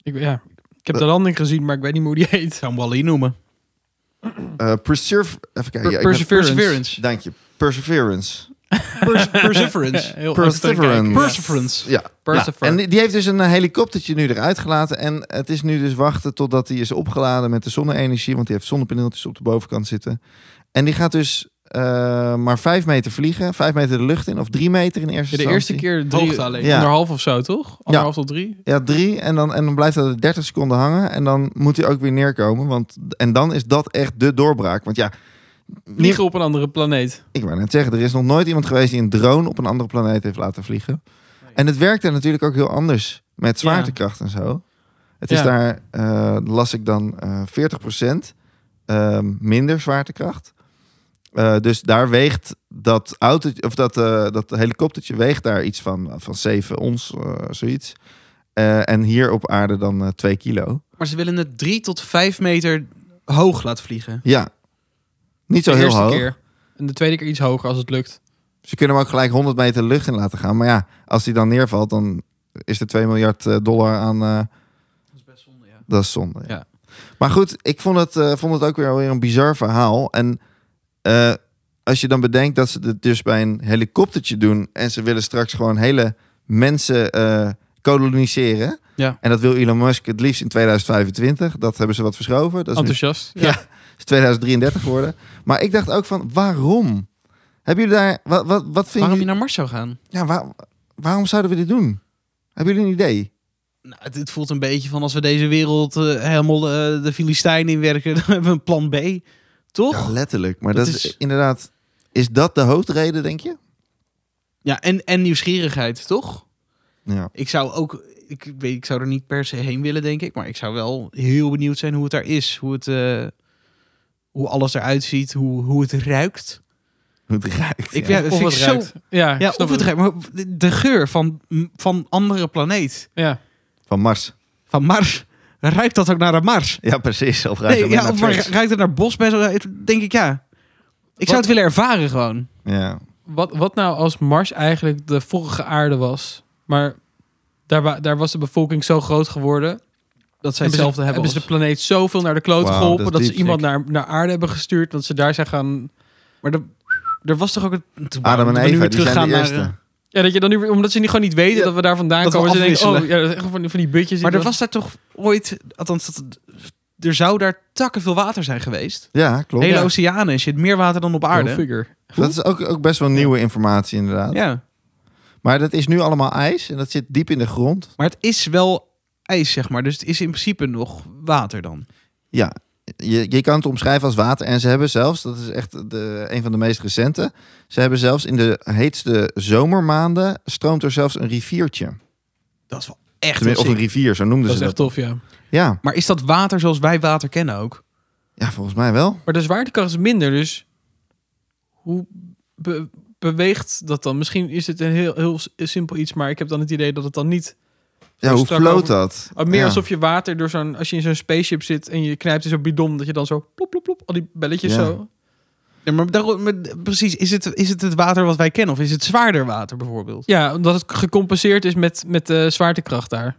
[SPEAKER 2] Ik, ja, ik heb de landing gezien, maar ik weet niet meer hoe die heet.
[SPEAKER 1] Ik zou hem Wally noemen.
[SPEAKER 3] Eh Persever... Even kijken.
[SPEAKER 2] Per-
[SPEAKER 3] ja, ik ben-
[SPEAKER 2] Mm. Perseverance.
[SPEAKER 3] Dank je. Perseverance.
[SPEAKER 1] Pers- perseverance.
[SPEAKER 2] Heel
[SPEAKER 3] Perseverance.
[SPEAKER 1] Perseverance.
[SPEAKER 3] Ja.
[SPEAKER 2] Persever.
[SPEAKER 3] En die- die heeft dus een eh, helikoptertje nu eruit gelaten. En het is nu dus wachten totdat die is opgeladen met de zonne-energie. Want die heeft zonnepaneeltjes op de bovenkant zitten. En die gaat dus eh, maar vijf meter vliegen. Vijf meter de lucht in. Of drie meter in eerste
[SPEAKER 2] Ja, de
[SPEAKER 3] instantie.
[SPEAKER 2] eerste keer drie,
[SPEAKER 1] Hoogte alleen.
[SPEAKER 3] Ja.
[SPEAKER 2] anderhalf of zo, toch? Anderhalf tot drie.
[SPEAKER 3] Ja, drie. En dan, en dan blijft dat er 30 seconden hangen. En dan moet hij ook weer neerkomen. Want, en dan is dat echt de doorbraak. Want ja,
[SPEAKER 2] Vliegen op een andere planeet.
[SPEAKER 3] ik wou net zeggen, er is nog nooit iemand geweest die een drone op een andere planeet heeft laten vliegen. En het werkt daar natuurlijk ook heel anders met
[SPEAKER 1] Ja.
[SPEAKER 3] zwaartekracht en zo. Het is
[SPEAKER 2] Ja.
[SPEAKER 3] daar, eh, las ik dan, eh 40% ehm, minder zwaartekracht. Eh, dus daar weegt dat auto, of dat, eh, dat helikoptertje weegt daar iets van, van 7 ons, eh, zoiets. Eh, en hier op aarde dan eh 2 kilo.
[SPEAKER 1] Maar ze willen het drie tot vijf meter hoog laten vliegen.
[SPEAKER 3] Ja, niet zo
[SPEAKER 2] de
[SPEAKER 3] heel
[SPEAKER 2] eerste
[SPEAKER 3] hoog.
[SPEAKER 2] keer. En de tweede keer iets hoger als het lukt.
[SPEAKER 3] Ze kunnen hem ook gelijk 100 meter lucht in laten gaan. Maar ja, als hij dan neervalt, dan is er 2 miljard eh, dollar aan. eh,
[SPEAKER 1] Dat is best zonde, ja.
[SPEAKER 3] dat is zonde. Ja.
[SPEAKER 1] Ja.
[SPEAKER 3] Maar goed, ik vond het, eh, vond het ook weer, weer een bizar verhaal. En eh, als je dan bedenkt dat ze het dus bij een helikoptertje doen. en ze willen straks gewoon hele mensen eh, koloniseren.
[SPEAKER 1] Ja.
[SPEAKER 3] En dat wil Elon Musk het liefst in 2025. Dat hebben ze wat verschoven. Dat is nu
[SPEAKER 2] Enthousiast.
[SPEAKER 3] Ja. is 2033 geworden. Maar ik dacht ook van, waarom? Hebben jullie daar... Wat, wat, wat vind
[SPEAKER 1] Waarom je
[SPEAKER 3] je?
[SPEAKER 1] naar Mars zou gaan?
[SPEAKER 3] Ja, waar- waarom zouden we dit doen? Hebben jullie een idee?
[SPEAKER 1] Nou, het, het voelt een beetje van als we deze wereld eh, helemaal eh, de Filistijnen inwerken, dan hebben we een plan B. Toch?
[SPEAKER 3] Ja, letterlijk. Maar dat,
[SPEAKER 1] Dat
[SPEAKER 3] is...
[SPEAKER 1] is-
[SPEAKER 3] inderdaad... Is dat de hoofdreden, denk je?
[SPEAKER 1] Ja, en, en nieuwsgierigheid, toch?
[SPEAKER 3] Ja.
[SPEAKER 1] Ik zou ook, ik weet, ik zou er niet per se heen willen, denk ik, maar ik zou wel heel benieuwd zijn hoe het daar is, hoe het, eh, hoe alles eruit ziet, hoe, hoe het ruikt.
[SPEAKER 3] Hoe het ruikt.
[SPEAKER 1] Ik,
[SPEAKER 3] ja.
[SPEAKER 1] ja, dat vind ik zo-
[SPEAKER 2] Ja, ik
[SPEAKER 1] Ja, of het
[SPEAKER 2] snap het.
[SPEAKER 1] ruikt, maar de- de geur van, van andere planeet,
[SPEAKER 2] Ja.
[SPEAKER 3] Van Mars.
[SPEAKER 1] van Mars, ruikt dat ook naar een Mars?
[SPEAKER 3] Ja, precies. Of ruikt
[SPEAKER 1] Nee,
[SPEAKER 3] het maar
[SPEAKER 1] ja,
[SPEAKER 3] naar
[SPEAKER 1] of maar
[SPEAKER 3] Trix?
[SPEAKER 1] ruikt het naar bos bij zo, denk ik ja. Ik zou het
[SPEAKER 2] Wat-
[SPEAKER 1] willen ervaren gewoon.
[SPEAKER 3] Ja.
[SPEAKER 2] Wat, wat nou als Mars eigenlijk de vorige aarde was, maar daar, wa- daar was de bevolking zo groot geworden.
[SPEAKER 1] Dat zij
[SPEAKER 2] Hebben ze,
[SPEAKER 1] hetzelfde hebben.
[SPEAKER 2] hebben ze de planeet zoveel naar de kloot
[SPEAKER 3] Wauw,
[SPEAKER 2] geholpen
[SPEAKER 3] dat
[SPEAKER 2] dat,
[SPEAKER 3] is
[SPEAKER 2] ze
[SPEAKER 3] diep,
[SPEAKER 2] iemand naar, naar aarde hebben gestuurd, dat ze daar zijn gaan...
[SPEAKER 1] maar de- er was toch ook het...
[SPEAKER 3] Adam en
[SPEAKER 1] moeten we nu
[SPEAKER 3] Eva,
[SPEAKER 1] weer
[SPEAKER 3] die zijn de
[SPEAKER 1] teruggaan
[SPEAKER 3] eerste.
[SPEAKER 1] naar, eh,
[SPEAKER 2] Ja, dat je dan nu, weer- omdat ze niet gewoon niet weten
[SPEAKER 1] Ja,
[SPEAKER 2] dat we daar vandaan
[SPEAKER 1] dat we
[SPEAKER 2] komen. Ze denken, oh
[SPEAKER 1] afwisselen.
[SPEAKER 2] ja, dat is echt van die, van die butjes.
[SPEAKER 1] Maar
[SPEAKER 2] die
[SPEAKER 1] er
[SPEAKER 2] dan-
[SPEAKER 1] was daar toch ooit, althans, dat- er zou daar takken veel water zijn geweest.
[SPEAKER 3] Ja, klopt.
[SPEAKER 1] Hele
[SPEAKER 2] Ja.
[SPEAKER 1] oceanen en shit, meer water dan op
[SPEAKER 2] Go
[SPEAKER 1] aarde.
[SPEAKER 2] figure.
[SPEAKER 3] Dat is ook, ook best wel nieuwe informatie, inderdaad.
[SPEAKER 1] Ja,
[SPEAKER 3] Maar dat is nu allemaal ijs en dat zit diep in de grond.
[SPEAKER 1] maar het is wel ijs, zeg maar. Dus het is in principe nog water dan.
[SPEAKER 3] Ja, je, je kan het omschrijven als water. En ze hebben zelfs, dat is echt de, een van de meest recente. Ze hebben zelfs in de heetste zomermaanden stroomt er zelfs een riviertje.
[SPEAKER 1] Dat is wel echt
[SPEAKER 3] Tenminste,
[SPEAKER 1] wel
[SPEAKER 3] of een
[SPEAKER 1] sick.
[SPEAKER 3] rivier, zo noemden
[SPEAKER 2] Dat is
[SPEAKER 3] ze
[SPEAKER 2] echt
[SPEAKER 3] dat.
[SPEAKER 2] tof, ja.
[SPEAKER 3] Ja,
[SPEAKER 1] Maar is dat water zoals wij water kennen ook?
[SPEAKER 3] ja, volgens mij wel.
[SPEAKER 2] Maar de zwaartekracht is minder, dus hoe be- beweegt dat dan? Misschien is het een heel, heel s- simpel iets, maar ik heb dan het idee dat het dan niet...
[SPEAKER 3] Ja, hoe
[SPEAKER 2] strak
[SPEAKER 3] floot
[SPEAKER 2] over-
[SPEAKER 3] dat?
[SPEAKER 2] Oh, meer
[SPEAKER 3] Ja.
[SPEAKER 2] alsof je water door zo'n... Als je in zo'n spaceship zit en je knijpt in zo'n bidon, dat je dan zo plop, plop, plop, al die belletjes
[SPEAKER 3] Ja.
[SPEAKER 2] zo...
[SPEAKER 1] Ja, maar, daarom, maar precies, is het, is het het water wat wij kennen? Of is het zwaarder water bijvoorbeeld?
[SPEAKER 2] Ja, omdat het gecompenseerd is met, met de zwaartekracht daar.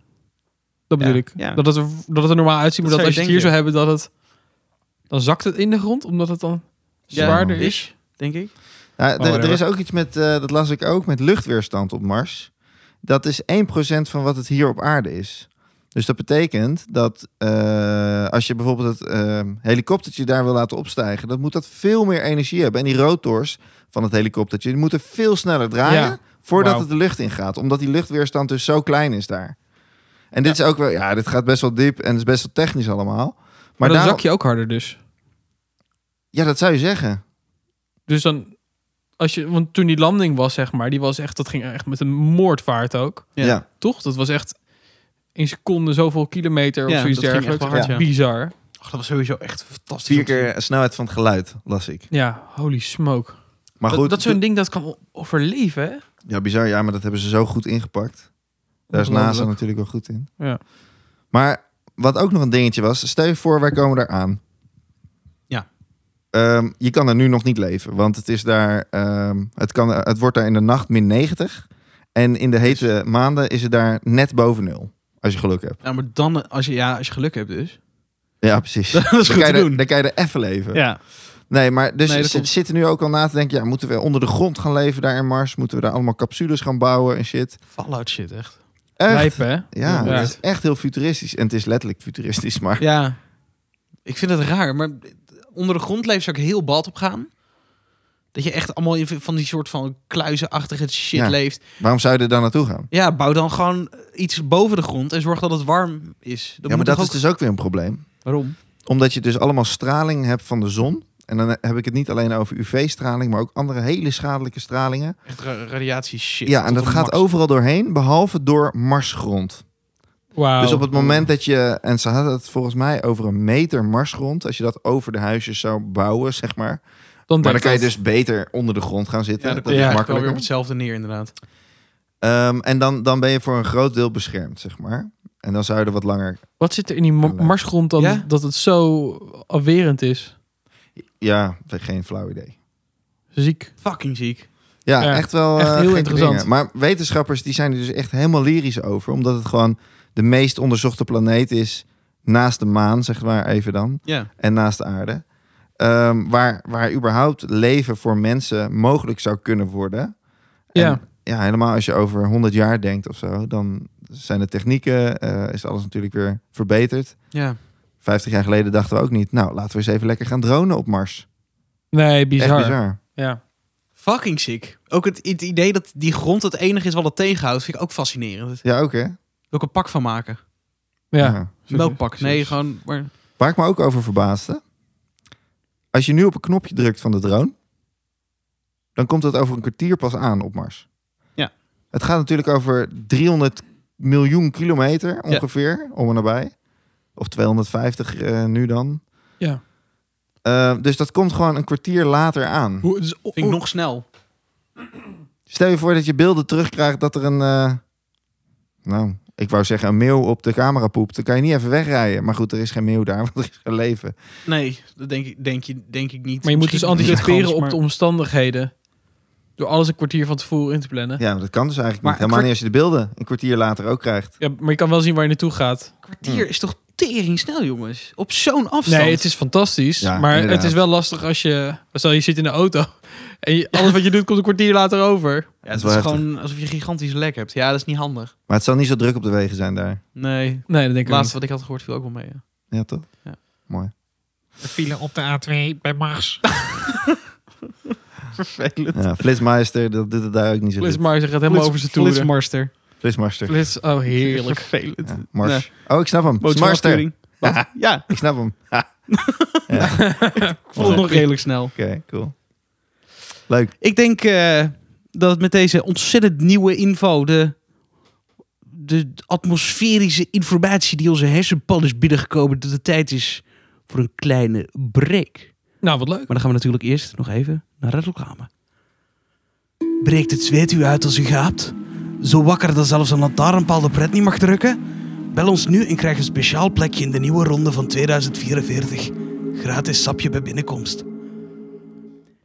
[SPEAKER 2] Dat bedoel
[SPEAKER 1] Ja,
[SPEAKER 2] ik.
[SPEAKER 1] ja.
[SPEAKER 2] Dat, het er, dat het er normaal uitziet, maar
[SPEAKER 1] Dat
[SPEAKER 2] dat, als je
[SPEAKER 1] zou
[SPEAKER 2] het
[SPEAKER 1] je
[SPEAKER 2] hier zou hebben, dat het... Dan zakt het in de grond, omdat het dan
[SPEAKER 1] Ja,
[SPEAKER 2] zwaarder
[SPEAKER 1] is,
[SPEAKER 2] is.
[SPEAKER 1] denk ik.
[SPEAKER 3] Ja, d- er
[SPEAKER 2] whatever.
[SPEAKER 3] is ook iets met, eh, dat las ik ook, met luchtweerstand op Mars. Dat is 1% van wat het hier op aarde is. Dus dat betekent dat eh, als je bijvoorbeeld het eh, helikoptertje daar wil laten opstijgen, dan moet dat veel meer energie hebben. En die rotors van het helikoptertje die moeten veel sneller draaien
[SPEAKER 2] Ja.
[SPEAKER 3] voordat
[SPEAKER 2] Wauw.
[SPEAKER 3] het de lucht ingaat. Omdat die luchtweerstand dus zo klein is daar. En dit is ook wel, ja, dit gaat best wel diep en het is best wel technisch allemaal.
[SPEAKER 2] Maar
[SPEAKER 3] Maar,
[SPEAKER 2] dan
[SPEAKER 3] daarom-
[SPEAKER 2] zak je ook harder dus.
[SPEAKER 3] ja, dat zou je zeggen.
[SPEAKER 2] Dus dan... Als je, want toen die landing was, zeg maar, die was echt, dat ging echt met een moordvaart ook.
[SPEAKER 1] Ja.
[SPEAKER 3] ja.
[SPEAKER 2] Toch? Dat was echt in seconden zoveel kilometer of
[SPEAKER 1] Ja,
[SPEAKER 2] zoiets
[SPEAKER 1] dat ging echt
[SPEAKER 2] dergelijks.
[SPEAKER 1] wel hard, ja.
[SPEAKER 2] Bizar.
[SPEAKER 1] Ach, dat was sowieso echt fantastisch.
[SPEAKER 3] Vier keer snelheid van het geluid, las ik.
[SPEAKER 2] Ja, holy smoke.
[SPEAKER 3] Maar
[SPEAKER 2] dat
[SPEAKER 3] goed,
[SPEAKER 2] dat zo'n ding dat kan o- overleven, hè?
[SPEAKER 3] Ja, bizar. Ja, maar dat hebben ze zo goed ingepakt. Daar is NASA
[SPEAKER 2] Ongelooflijk.
[SPEAKER 3] natuurlijk wel goed in.
[SPEAKER 2] Ja.
[SPEAKER 3] Maar wat ook nog een dingetje was, stel je voor, wij komen daar aan.
[SPEAKER 1] Ja.
[SPEAKER 3] Ehm, je kan er nu nog niet leven, want het is daar, ehm, het, kan, het wordt daar in de nacht min 90. En in de hete maanden is het daar net boven nul. Als je geluk hebt.
[SPEAKER 1] Ja, maar dan, als je, ja, als je geluk hebt dus.
[SPEAKER 3] Ja, precies.
[SPEAKER 1] Dat is goed
[SPEAKER 3] dan, kan
[SPEAKER 1] te
[SPEAKER 3] je er-
[SPEAKER 1] doen.
[SPEAKER 3] dan kan je er even leven.
[SPEAKER 1] Ja.
[SPEAKER 3] Nee, maar dus
[SPEAKER 1] Nee, dat
[SPEAKER 3] ze
[SPEAKER 1] klopt.
[SPEAKER 3] zitten nu ook al na te denken. Ja, moeten we onder de grond gaan leven daar in Mars? Moeten we daar allemaal capsules gaan bouwen en shit?
[SPEAKER 1] Fallout shit, echt.
[SPEAKER 3] Echt.
[SPEAKER 2] Lijpen, hè?
[SPEAKER 3] Ja,
[SPEAKER 2] Ja.
[SPEAKER 3] het is echt heel futuristisch. En het is letterlijk futuristisch, maar...
[SPEAKER 1] Ja, ik vind het raar, maar onder de grond leven zou ik heel bad op gaan. Dat je echt allemaal in van die soort van kluizenachtige shit
[SPEAKER 3] Ja.
[SPEAKER 1] leeft.
[SPEAKER 3] Waarom zou je er dan naartoe gaan?
[SPEAKER 1] Ja, bouw dan gewoon iets boven de grond en zorg dat het warm is. Dat
[SPEAKER 3] ja, maar
[SPEAKER 1] moet
[SPEAKER 3] dat
[SPEAKER 1] toch
[SPEAKER 3] is dus ook weer een probleem.
[SPEAKER 1] Waarom?
[SPEAKER 3] Omdat je dus allemaal straling hebt van de zon. En dan heb ik het niet alleen over UV-straling, maar ook andere hele schadelijke stralingen.
[SPEAKER 1] Echt ra- radiatie shit.
[SPEAKER 3] ja, en
[SPEAKER 1] tot
[SPEAKER 3] dat
[SPEAKER 1] een
[SPEAKER 3] gaat
[SPEAKER 1] max.
[SPEAKER 3] overal doorheen, behalve door Marsgrond.
[SPEAKER 1] Oh.
[SPEAKER 2] Wauw.
[SPEAKER 3] Dus op het moment dat je, en ze hadden het volgens mij over een meter Marsgrond, als je dat over de huisjes zou bouwen, zeg maar.
[SPEAKER 2] dan
[SPEAKER 3] Maar
[SPEAKER 2] denk
[SPEAKER 3] dan
[SPEAKER 2] ik
[SPEAKER 3] kan je
[SPEAKER 2] dat-
[SPEAKER 3] dus beter onder de grond gaan zitten.
[SPEAKER 1] Ja,
[SPEAKER 3] dat
[SPEAKER 1] dat
[SPEAKER 3] is
[SPEAKER 1] ja, wel weer
[SPEAKER 3] makkelijker.
[SPEAKER 1] op hetzelfde neer inderdaad.
[SPEAKER 3] Ehm, en dan, dan ben je voor een groot deel beschermd, zeg maar. En dan zou je er wat langer
[SPEAKER 2] Wat zit er in die ma- marsgrond dan
[SPEAKER 1] Ja?
[SPEAKER 2] dat het zo afwerend is?
[SPEAKER 3] Ja, geen flauw idee.
[SPEAKER 2] Ziek.
[SPEAKER 1] Fucking ziek.
[SPEAKER 3] Ja,
[SPEAKER 2] Ja,
[SPEAKER 3] echt wel
[SPEAKER 2] echt
[SPEAKER 3] eh,
[SPEAKER 2] heel
[SPEAKER 3] gekke
[SPEAKER 2] interessant.
[SPEAKER 3] dingen. Maar wetenschappers die zijn er dus echt helemaal lyrisch over. Omdat het gewoon de meest onderzochte planeet is naast de maan, zeg maar even dan.
[SPEAKER 1] Ja.
[SPEAKER 3] En naast de aarde. Ehm, waar, waar überhaupt leven voor mensen mogelijk zou kunnen worden. En
[SPEAKER 2] Ja.
[SPEAKER 3] ja, helemaal als je over 100 jaar denkt of zo. Dan zijn de technieken, eh, is alles natuurlijk weer verbeterd.
[SPEAKER 1] Ja.
[SPEAKER 3] 50 jaar geleden dachten we ook niet. Nou, laten we eens even lekker gaan dronen op Mars.
[SPEAKER 2] Nee, bizar.
[SPEAKER 3] Echt bizar.
[SPEAKER 2] Ja.
[SPEAKER 1] Fucking ziek. Ook het, het idee dat die grond het enige is wat het tegenhoudt, vind ik ook fascinerend.
[SPEAKER 3] Ja, ook hè?
[SPEAKER 1] Wil ik een pak van maken?
[SPEAKER 2] Ja.
[SPEAKER 1] Een melkpak? Nee,
[SPEAKER 2] Precies.
[SPEAKER 1] gewoon... Maar...
[SPEAKER 3] Waar ik me ook over verbaasde. Als je nu op een knopje drukt van de drone, dan komt dat over een kwartier pas aan op Mars.
[SPEAKER 1] Ja.
[SPEAKER 3] Het gaat natuurlijk over 300 miljoen kilometer ongeveer, om en nabij. Of 250 eh, nu dan.
[SPEAKER 2] Ja.
[SPEAKER 3] Eh, dus dat komt gewoon een kwartier later aan.
[SPEAKER 2] Hoe, dus,
[SPEAKER 1] Vind ik nog snel.
[SPEAKER 3] Stel je voor dat je beelden terugkrijgt dat er een... eh, nou, ik wou zeggen een meeuw op de camera poept. Dan kan je niet even wegrijden. Maar goed, er is geen meeuw daar, want er is geen leven.
[SPEAKER 1] Nee, dat denk ik, denk je, denk ik niet.
[SPEAKER 2] Maar je moet dus
[SPEAKER 1] Misschien-
[SPEAKER 2] anticiperen
[SPEAKER 1] Ja,
[SPEAKER 2] op
[SPEAKER 1] maar-
[SPEAKER 2] de omstandigheden. Door alles een kwartier van tevoren in te plannen. Ja.
[SPEAKER 3] Ja, maar dat kan dus eigenlijk
[SPEAKER 1] Maar
[SPEAKER 3] niet. Helemaal niet als je de beelden een kwartier later ook krijgt.
[SPEAKER 2] maar je kan wel zien waar je naartoe gaat.
[SPEAKER 1] kwartier is toch tering snel, jongens? Op zo'n afstand.
[SPEAKER 2] Nee, het is fantastisch.
[SPEAKER 3] Ja,
[SPEAKER 2] maar
[SPEAKER 3] inderdaad.
[SPEAKER 2] het is wel lastig als je... Stel, je zit in de auto. En je- alles wat je doet komt een kwartier later over.
[SPEAKER 1] ja, het
[SPEAKER 3] wel
[SPEAKER 1] is
[SPEAKER 3] heftig.
[SPEAKER 1] gewoon alsof je gigantisch lek hebt. Ja, dat is niet handig.
[SPEAKER 3] Maar het zal niet zo druk op de wegen zijn daar.
[SPEAKER 1] Nee.
[SPEAKER 2] Nee, dat denk
[SPEAKER 1] Het
[SPEAKER 2] ik
[SPEAKER 1] laatste
[SPEAKER 2] niet.
[SPEAKER 1] wat ik had gehoord viel ook wel mee. ja.
[SPEAKER 3] Ja, toch?
[SPEAKER 1] Ja.
[SPEAKER 3] Mooi.
[SPEAKER 5] De file op de A2 bij Mars.
[SPEAKER 1] Vervelend.
[SPEAKER 3] Ja, Flitsmeister, dat doet het daar ook niet zo goed.
[SPEAKER 2] Flitsmeister gaat helemaal over zijn toeren.
[SPEAKER 1] Flitsmaster.
[SPEAKER 3] Flitsmeister.
[SPEAKER 2] Flits, oh heerlijk.
[SPEAKER 1] Vervelend.
[SPEAKER 3] Ja, Mars. Oh, ik snap hem. Smarster.
[SPEAKER 1] Motorafkeuring. Wat? Ja,
[SPEAKER 3] Ik snap hem.
[SPEAKER 1] ik vond het nog redelijk snel.
[SPEAKER 3] Oké, cool. Leuk.
[SPEAKER 1] Ik denk eh, dat met deze ontzettend nieuwe info de, de atmosferische informatie die onze hersenpan is binnengekomen, dat het tijd is voor een kleine break.
[SPEAKER 2] Nou, wat leuk.
[SPEAKER 1] Maar dan gaan we natuurlijk eerst nog even naar de reclame. Breekt het zweet u uit als u gaapt? Zo wakker dat zelfs een lantaarnpaal de pret niet mag drukken? Bel ons nu en krijg een speciaal plekje in de nieuwe ronde van 2044. Gratis sapje bij binnenkomst.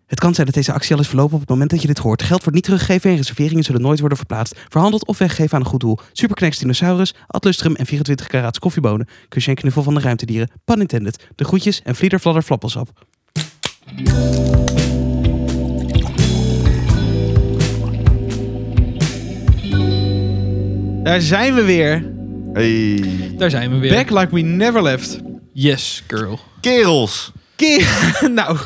[SPEAKER 1] Het kan zijn dat deze actie al is verlopen op het moment dat je dit hoort. Geld wordt niet teruggegeven en reserveringen zullen nooit worden verplaatst, verhandeld of weggegeven aan een goed doel. Superknex Dinosaurus, Atlustrum en 24 karaats koffiebonen. Kusje en knuffel van de ruimtedieren. Pan intended. De groetjes en vlieder fladder flappelsap. Daar zijn we weer.
[SPEAKER 3] Hey.
[SPEAKER 2] Daar zijn we weer.
[SPEAKER 1] Back like we never left.
[SPEAKER 2] Yes, girl.
[SPEAKER 3] Kerels.
[SPEAKER 1] Keer. nou,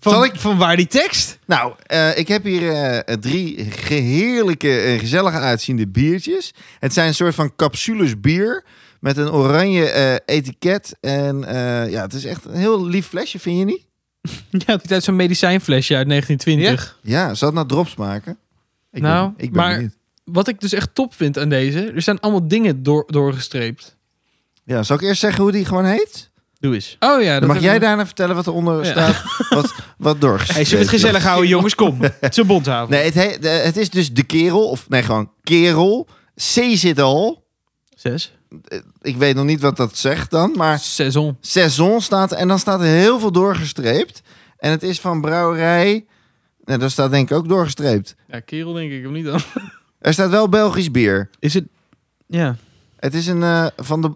[SPEAKER 1] van,
[SPEAKER 3] Zal ik-
[SPEAKER 1] van waar die tekst?
[SPEAKER 3] Nou, eh, ik heb hier eh, drie geheerlijke en gezellig uitziende biertjes. Het zijn een soort van capsules bier met een oranje eh, etiket. En eh, ja, het is echt een heel lief flesje, vind je niet?
[SPEAKER 2] Ja, het is uit zo'n medicijnflesje uit 1920.
[SPEAKER 3] Ja, zal het nou drops maken? Ik
[SPEAKER 2] Nou,
[SPEAKER 3] ben, ik ben
[SPEAKER 2] maar-
[SPEAKER 3] benieuwd.
[SPEAKER 2] Wat ik dus echt top vind aan deze, er zijn allemaal dingen door, doorgestreept.
[SPEAKER 3] Ja, zal ik eerst zeggen hoe die gewoon heet?
[SPEAKER 1] Doe eens.
[SPEAKER 2] Oh ja,
[SPEAKER 3] Dan
[SPEAKER 2] dat
[SPEAKER 3] mag
[SPEAKER 2] heb
[SPEAKER 3] jij
[SPEAKER 2] ik-
[SPEAKER 3] daarna vertellen wat eronder
[SPEAKER 2] Ja.
[SPEAKER 3] staat, wat, wat doorgestreept
[SPEAKER 1] Hey, zullen we het
[SPEAKER 3] wordt.
[SPEAKER 1] gezellig houden, jongens? Kom. Het is een bondhaven.
[SPEAKER 3] Nee, het, he- de- het is dus de kerel, of nee, gewoon kerel. C zit al.
[SPEAKER 1] Zes.
[SPEAKER 3] Ik weet nog niet wat dat zegt dan, maar
[SPEAKER 2] Saison.
[SPEAKER 3] seizoen staat en dan staat er heel veel doorgestreept. En het is van brouwerij, nou, daar staat denk ik ook doorgestreept.
[SPEAKER 2] Ja, kerel denk ik, of niet dan?
[SPEAKER 3] Er staat wel Belgisch bier.
[SPEAKER 1] Is het... Ja.
[SPEAKER 3] Het is een eh, van de...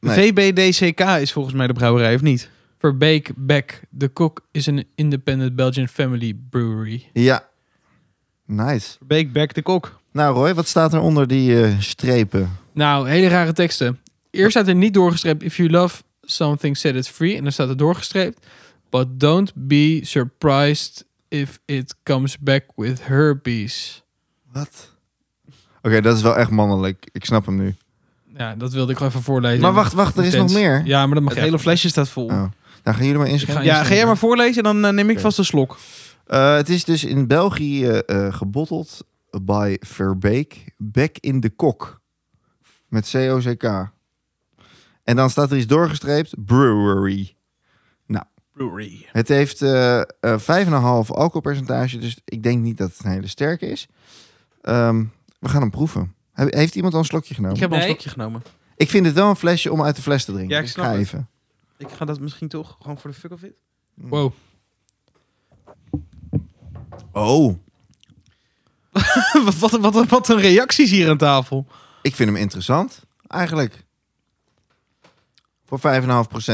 [SPEAKER 3] Nee.
[SPEAKER 1] VBDCK is volgens mij de brouwerij, of niet?
[SPEAKER 2] Verbeek Beck, de kok, is een independent Belgian family brewery.
[SPEAKER 3] Ja. Nice.
[SPEAKER 1] Bake Back de Kok.
[SPEAKER 3] Nou Roy, wat staat er onder die eh, strepen?
[SPEAKER 2] Nou, hele rare teksten. Eerst staat er niet doorgestreept, if you love something, set it free. En dan staat er doorgestreept, but don't be surprised if it comes back with herpes.
[SPEAKER 3] Wat? Oké, dat is wel echt mannelijk. Ik snap hem nu.
[SPEAKER 2] Ja, dat wilde ik gewoon even voorlezen.
[SPEAKER 3] Maar wacht, wacht, er is nog
[SPEAKER 2] Intens.
[SPEAKER 3] meer.
[SPEAKER 2] Ja, maar dat mag
[SPEAKER 1] Het hele
[SPEAKER 2] echt.
[SPEAKER 1] flesje staat vol.
[SPEAKER 3] Oh. Nou, gaan jullie maar inschrijven.
[SPEAKER 2] Ik
[SPEAKER 1] Ja, ga jij maar voorlezen en dan eh, neem ik vast een slok.
[SPEAKER 3] Eh, het is dus in België eh, eh, gebotteld bij Verbeek. Bek in de kok. Met C-O-C-K. En dan staat er iets doorgestreept. Brewery.
[SPEAKER 1] Brewery.
[SPEAKER 3] Het heeft eh eh 5,5 alcoholpercentage. Dus ik denk niet dat het een hele sterke is. Ehm, we gaan hem proeven. He- Heeft iemand al een slokje genomen?
[SPEAKER 1] Ik
[SPEAKER 3] Ik,
[SPEAKER 1] heb al een
[SPEAKER 2] Nee.
[SPEAKER 1] slokje genomen.
[SPEAKER 3] vind het wel een flesje om uit de fles te drinken.
[SPEAKER 1] Ja, ik snap
[SPEAKER 3] ga
[SPEAKER 1] het.
[SPEAKER 3] even.
[SPEAKER 1] Ik ga dat misschien toch gewoon voor de fuck of it.
[SPEAKER 2] Wow.
[SPEAKER 3] Oh,
[SPEAKER 1] wat, wat, wat, wat een reacties hier aan tafel.
[SPEAKER 3] ik vind hem interessant, eigenlijk. Voor 5,5%.